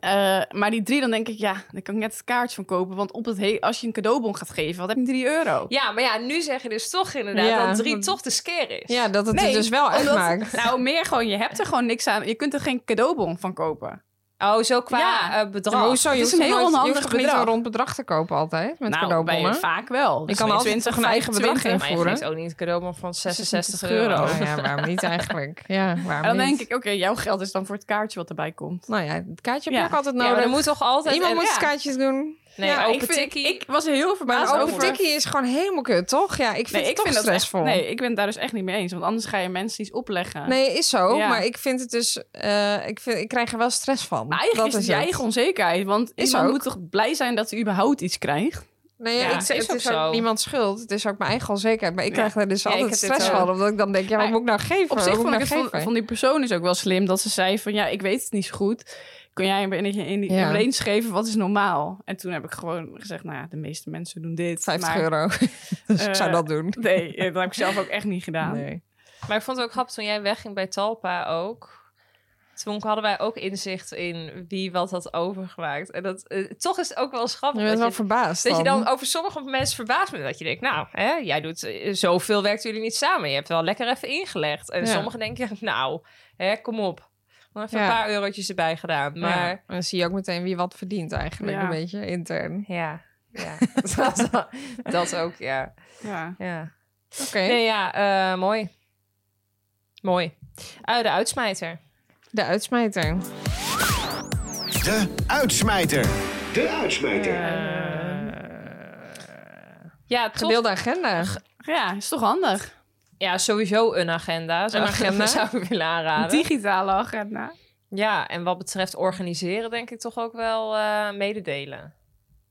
D: Eh, maar die 3, dan denk ik, ja, daar kan ik net het kaartje van kopen. Want op het he- als je een cadeaubon gaat geven, wat heb je 3 euro?
F: Ja, maar ja, nu zeg je dus toch inderdaad
E: Ja.
F: dat drie toch de scare is.
E: Ja, dat het
D: Nee,
E: er dus wel
D: omdat-
E: uitmaakt.
D: Nou, meer gewoon, je hebt er gewoon niks aan. Je kunt er geen cadeaubon van kopen.
F: Oh, zo qua
D: Ja.
F: eh, bedrag.
E: Ja, maar hoezo?
D: Het
E: Je
D: is
E: hoeft
D: een
E: toch
D: heel
E: nooit- je
D: onhandig
E: hoeft toch niet
D: bedrag.
E: een rond bedrag te kopen altijd
D: nou,
E: met
D: bij-
E: cadeaubonnen?
D: vaak wel. Dus
E: kan
D: bij
E: altijd toch een eigen bedrag
D: 25.
E: invoeren.
F: Maar je geeft ook niet een cadeaubon van 66
D: euro.
F: euro.
E: Nou ja, waarom niet eigenlijk? Ja, waarom
D: En dan
E: niet?
D: denk ik, oké, jouw geld is dan voor het kaartje wat erbij komt.
E: Nou ja, het kaartje heb je
D: Ja.
E: ook altijd
F: Ja,
E: nodig.
F: maar er moet toch altijd...
E: Iemand
F: en-
E: moet
F: ja.
E: het kaartjes doen.
F: Nee,
D: Ja,
F: open
D: ik, vind-
F: tikkie.
D: ik was er heel
E: Maar
D: verbaasd
E: een
D: over.
E: open tikkie is gewoon helemaal kut, toch? Ja, ik vind
D: Nee,
E: het
D: ik
E: toch
D: vind dat echt,
E: stressvol.
D: nee, ik ben het daar dus echt niet mee eens. Want anders ga je mensen iets opleggen.
E: Nee, is zo.
D: Ja.
E: Maar ik vind het dus... eh, ik, vind, ik krijg er wel stress van.
D: Maar eigenlijk is
E: dat
D: het je
E: het.
D: eigen onzekerheid. Want
E: Is
D: iemand
E: ook.
D: moet toch blij zijn dat hij überhaupt iets krijgt?
E: Nee, ja,
F: Ja,
E: ik, zeg-
F: is
E: het
F: ook
E: is ook
F: zo.
E: niemands schuld. Het is ook mijn eigen onzekerheid. Maar ik
D: Ja.
E: krijg er dus
F: Ja, ik
E: altijd
F: heb dit
E: stress
F: ook.
E: van. Omdat ik dan denk, ja, wat
D: Maar
E: moet ik nou geven?
D: Op zich
E: Wat moet
D: vond ik het
E: nou
D: van,
E: geven?
D: van die persoon is ook wel slim. Dat ze zei van, ja, ik weet het niet zo goed. Kun jij in, in, in die
E: Ja.
D: range geven? Wat is normaal? En toen heb ik gewoon gezegd, nou ja, de meeste mensen doen dit.
E: 50
D: maar-
E: euro. dus ik zou
D: Eh,
E: dat doen.
D: Nee, eh, dat heb ik zelf ook echt niet gedaan.
E: Nee.
F: Maar ik vond het ook grappig toen jij wegging bij Talpa ook. Toen hadden wij ook inzicht in wie wat had overgemaakt. En dat, eh, toch is het ook wel eens
E: Je
F: grappig.
E: bent wel
F: dat, je,
E: verbaasd
F: dat je dan over sommige mensen verbaast bent. Dat je denkt, nou, hè, jij doet eh, zoveel werkt jullie niet samen. Je hebt wel lekker even ingelegd. En
E: Ja.
F: sommigen denken, nou, hè, kom op. Maar even
E: Ja.
F: een paar eurotjes erbij gedaan.
E: Ja,
F: Maar
E: en dan zie je ook meteen wie wat verdient eigenlijk.
D: Ja.
E: Een beetje intern.
F: Ja, ja. dat, dat ook, ja.
D: Ja.
F: ja.
E: Oké.
F: Nee, ja, eh, mooi. Mooi. Eh, de uitsmijter.
E: De uitsmijter.
C: De uitsmijter.
G: De uitsmijter.
F: Ja, toch?
E: Gedeelde agenda.
D: ja, is Eh, toch handig?
F: Ja, sowieso een agenda. Zou-
E: Een agenda.
F: zou ik willen
D: Een
F: aanraden.
D: digitale agenda.
F: Ja, en wat betreft organiseren denk ik toch ook wel eh, mededelen.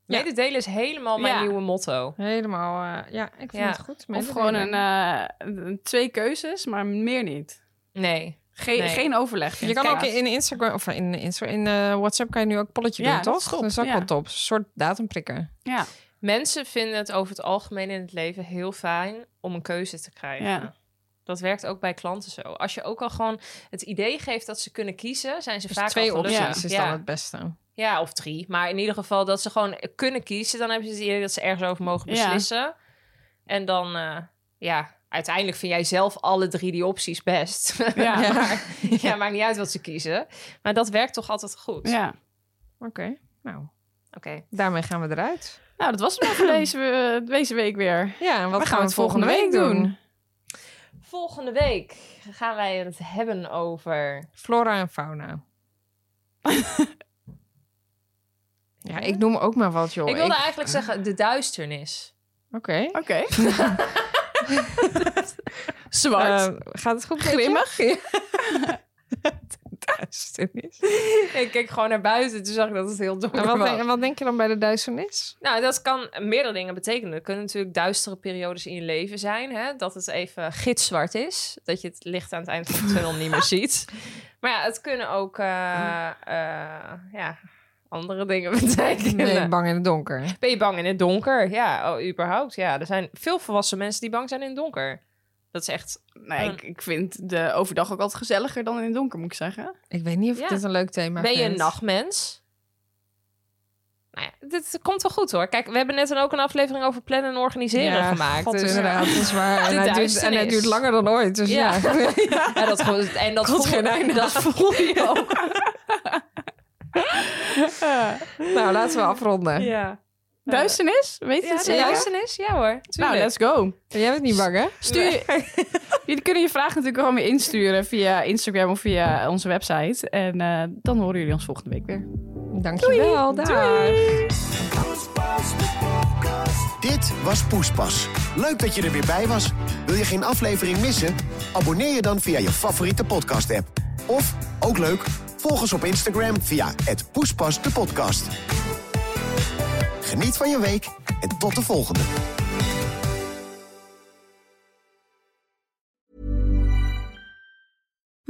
E: Ja.
F: Mededelen is helemaal mijn
D: Ja.
F: nieuwe motto.
E: Helemaal, eh, ja, ik vind
F: Ja.
E: het goed.
D: Of
E: mededelen.
D: gewoon een, eh, een- twee keuzes, maar meer niet.
F: Nee.
D: Geen,
F: Nee.
D: geen overleg.
E: Je kan ook in Instagram of in, Insta- in eh, WhatsApp kan je nu ook polletje
D: Ja,
E: doen,
D: dat
E: toch?
D: is top,
E: Dat is ook
D: ja.
E: wel top. Een soort datum prikken.
D: Ja.
F: Mensen vinden het over het algemeen in het leven heel fijn om een keuze te krijgen.
D: Ja.
F: Dat werkt ook bij klanten zo. Als je ook al gewoon het idee geeft dat ze kunnen kiezen, zijn ze
E: Dus
F: vaak
E: twee
F: al gelukkig.
E: opties
D: Ja.
E: is
F: ja.
E: dan het beste.
F: Ja, of drie. Maar in ieder geval dat ze gewoon kunnen kiezen. Dan hebben ze het idee dat ze ergens over mogen
D: Ja.
F: beslissen. En dan, eh, ja, uiteindelijk vind jij zelf alle drie die opties best.
D: Ja.
F: maar, ja, maakt niet uit wat ze kiezen. Maar dat werkt toch altijd goed.
D: ja.
E: Oké, nou,
F: Oké.
E: daarmee gaan we eruit.
D: Nou, dat was het wel voor deze, eh, deze week weer.
E: Ja, en wat
D: We
E: gaan we het volgende week doen?
F: Volgende week gaan wij het hebben over...
E: Flora en fauna. ja, ik noem ook maar wat, joh.
F: Oh, ik wilde
E: Ik-
F: eigenlijk zeggen de duisternis.
E: Oké.
D: Oké. Zwart.
E: Eh, gaat het goed? Grimmig? duisternis.
F: ik keek gewoon naar buiten. Toen zag ik dat het heel donker
E: En wat,
F: was.
E: denk, en wat denk je dan bij de duisternis?
F: Nou, dat kan meerdere dingen betekenen. Er kunnen natuurlijk duistere periodes in je leven zijn. Hè? Dat het even gitzwart is. Dat je het licht aan het eind van de tunnel niet meer ziet. Maar ja, het kunnen ook eh, eh, ja, andere dingen betekenen.
E: Nee, bang in het donker.
F: ben je bang in het donker? Ja, oh, überhaupt. Ja, er zijn veel volwassen mensen die bang zijn in het donker. Dat is echt...
D: nee, ik, ik vind de overdag ook altijd gezelliger dan in het donker, moet ik zeggen.
E: Ik weet niet of
F: Ja.
E: dit een leuk thema
F: ben je een
E: vindt.
F: nachtmens? Nou ja, dit komt wel goed hoor. Kijk, we hebben net ook een aflevering over plannen en organiseren
E: Ja,
F: gemaakt.
E: god,
F: dus-
E: inderdaad, dat is waar. En het, duurt, en
F: duisternis.
E: het duurt langer dan ooit. Dus ja.
F: En dat, gewoon- en dat
E: Komt
F: voel,
E: geen einde
F: dat voel je ook.
E: Nou, laten we afronden.
F: Ja.
D: Duisternis? Weet je het
F: de
D: zeker?
F: duisternis? Ja hoor.
D: Nou,
F: tuurlijk.
D: let's go.
E: Jij bent niet bang, hè?
D: Stuur Jullie kunnen je vragen natuurlijk gewoon weer insturen via Instagram of via onze website. En eh, dan horen jullie ons volgende week weer.
E: Dankjewel. Doei.
C: Dit was Poespas. Leuk dat je er weer bij was. Wil je geen aflevering missen? Abonneer je dan via je favoriete podcast-app. Of, ook leuk, Volg ons op Instagram via het Poespas de podcast. Geniet van je week en tot de volgende.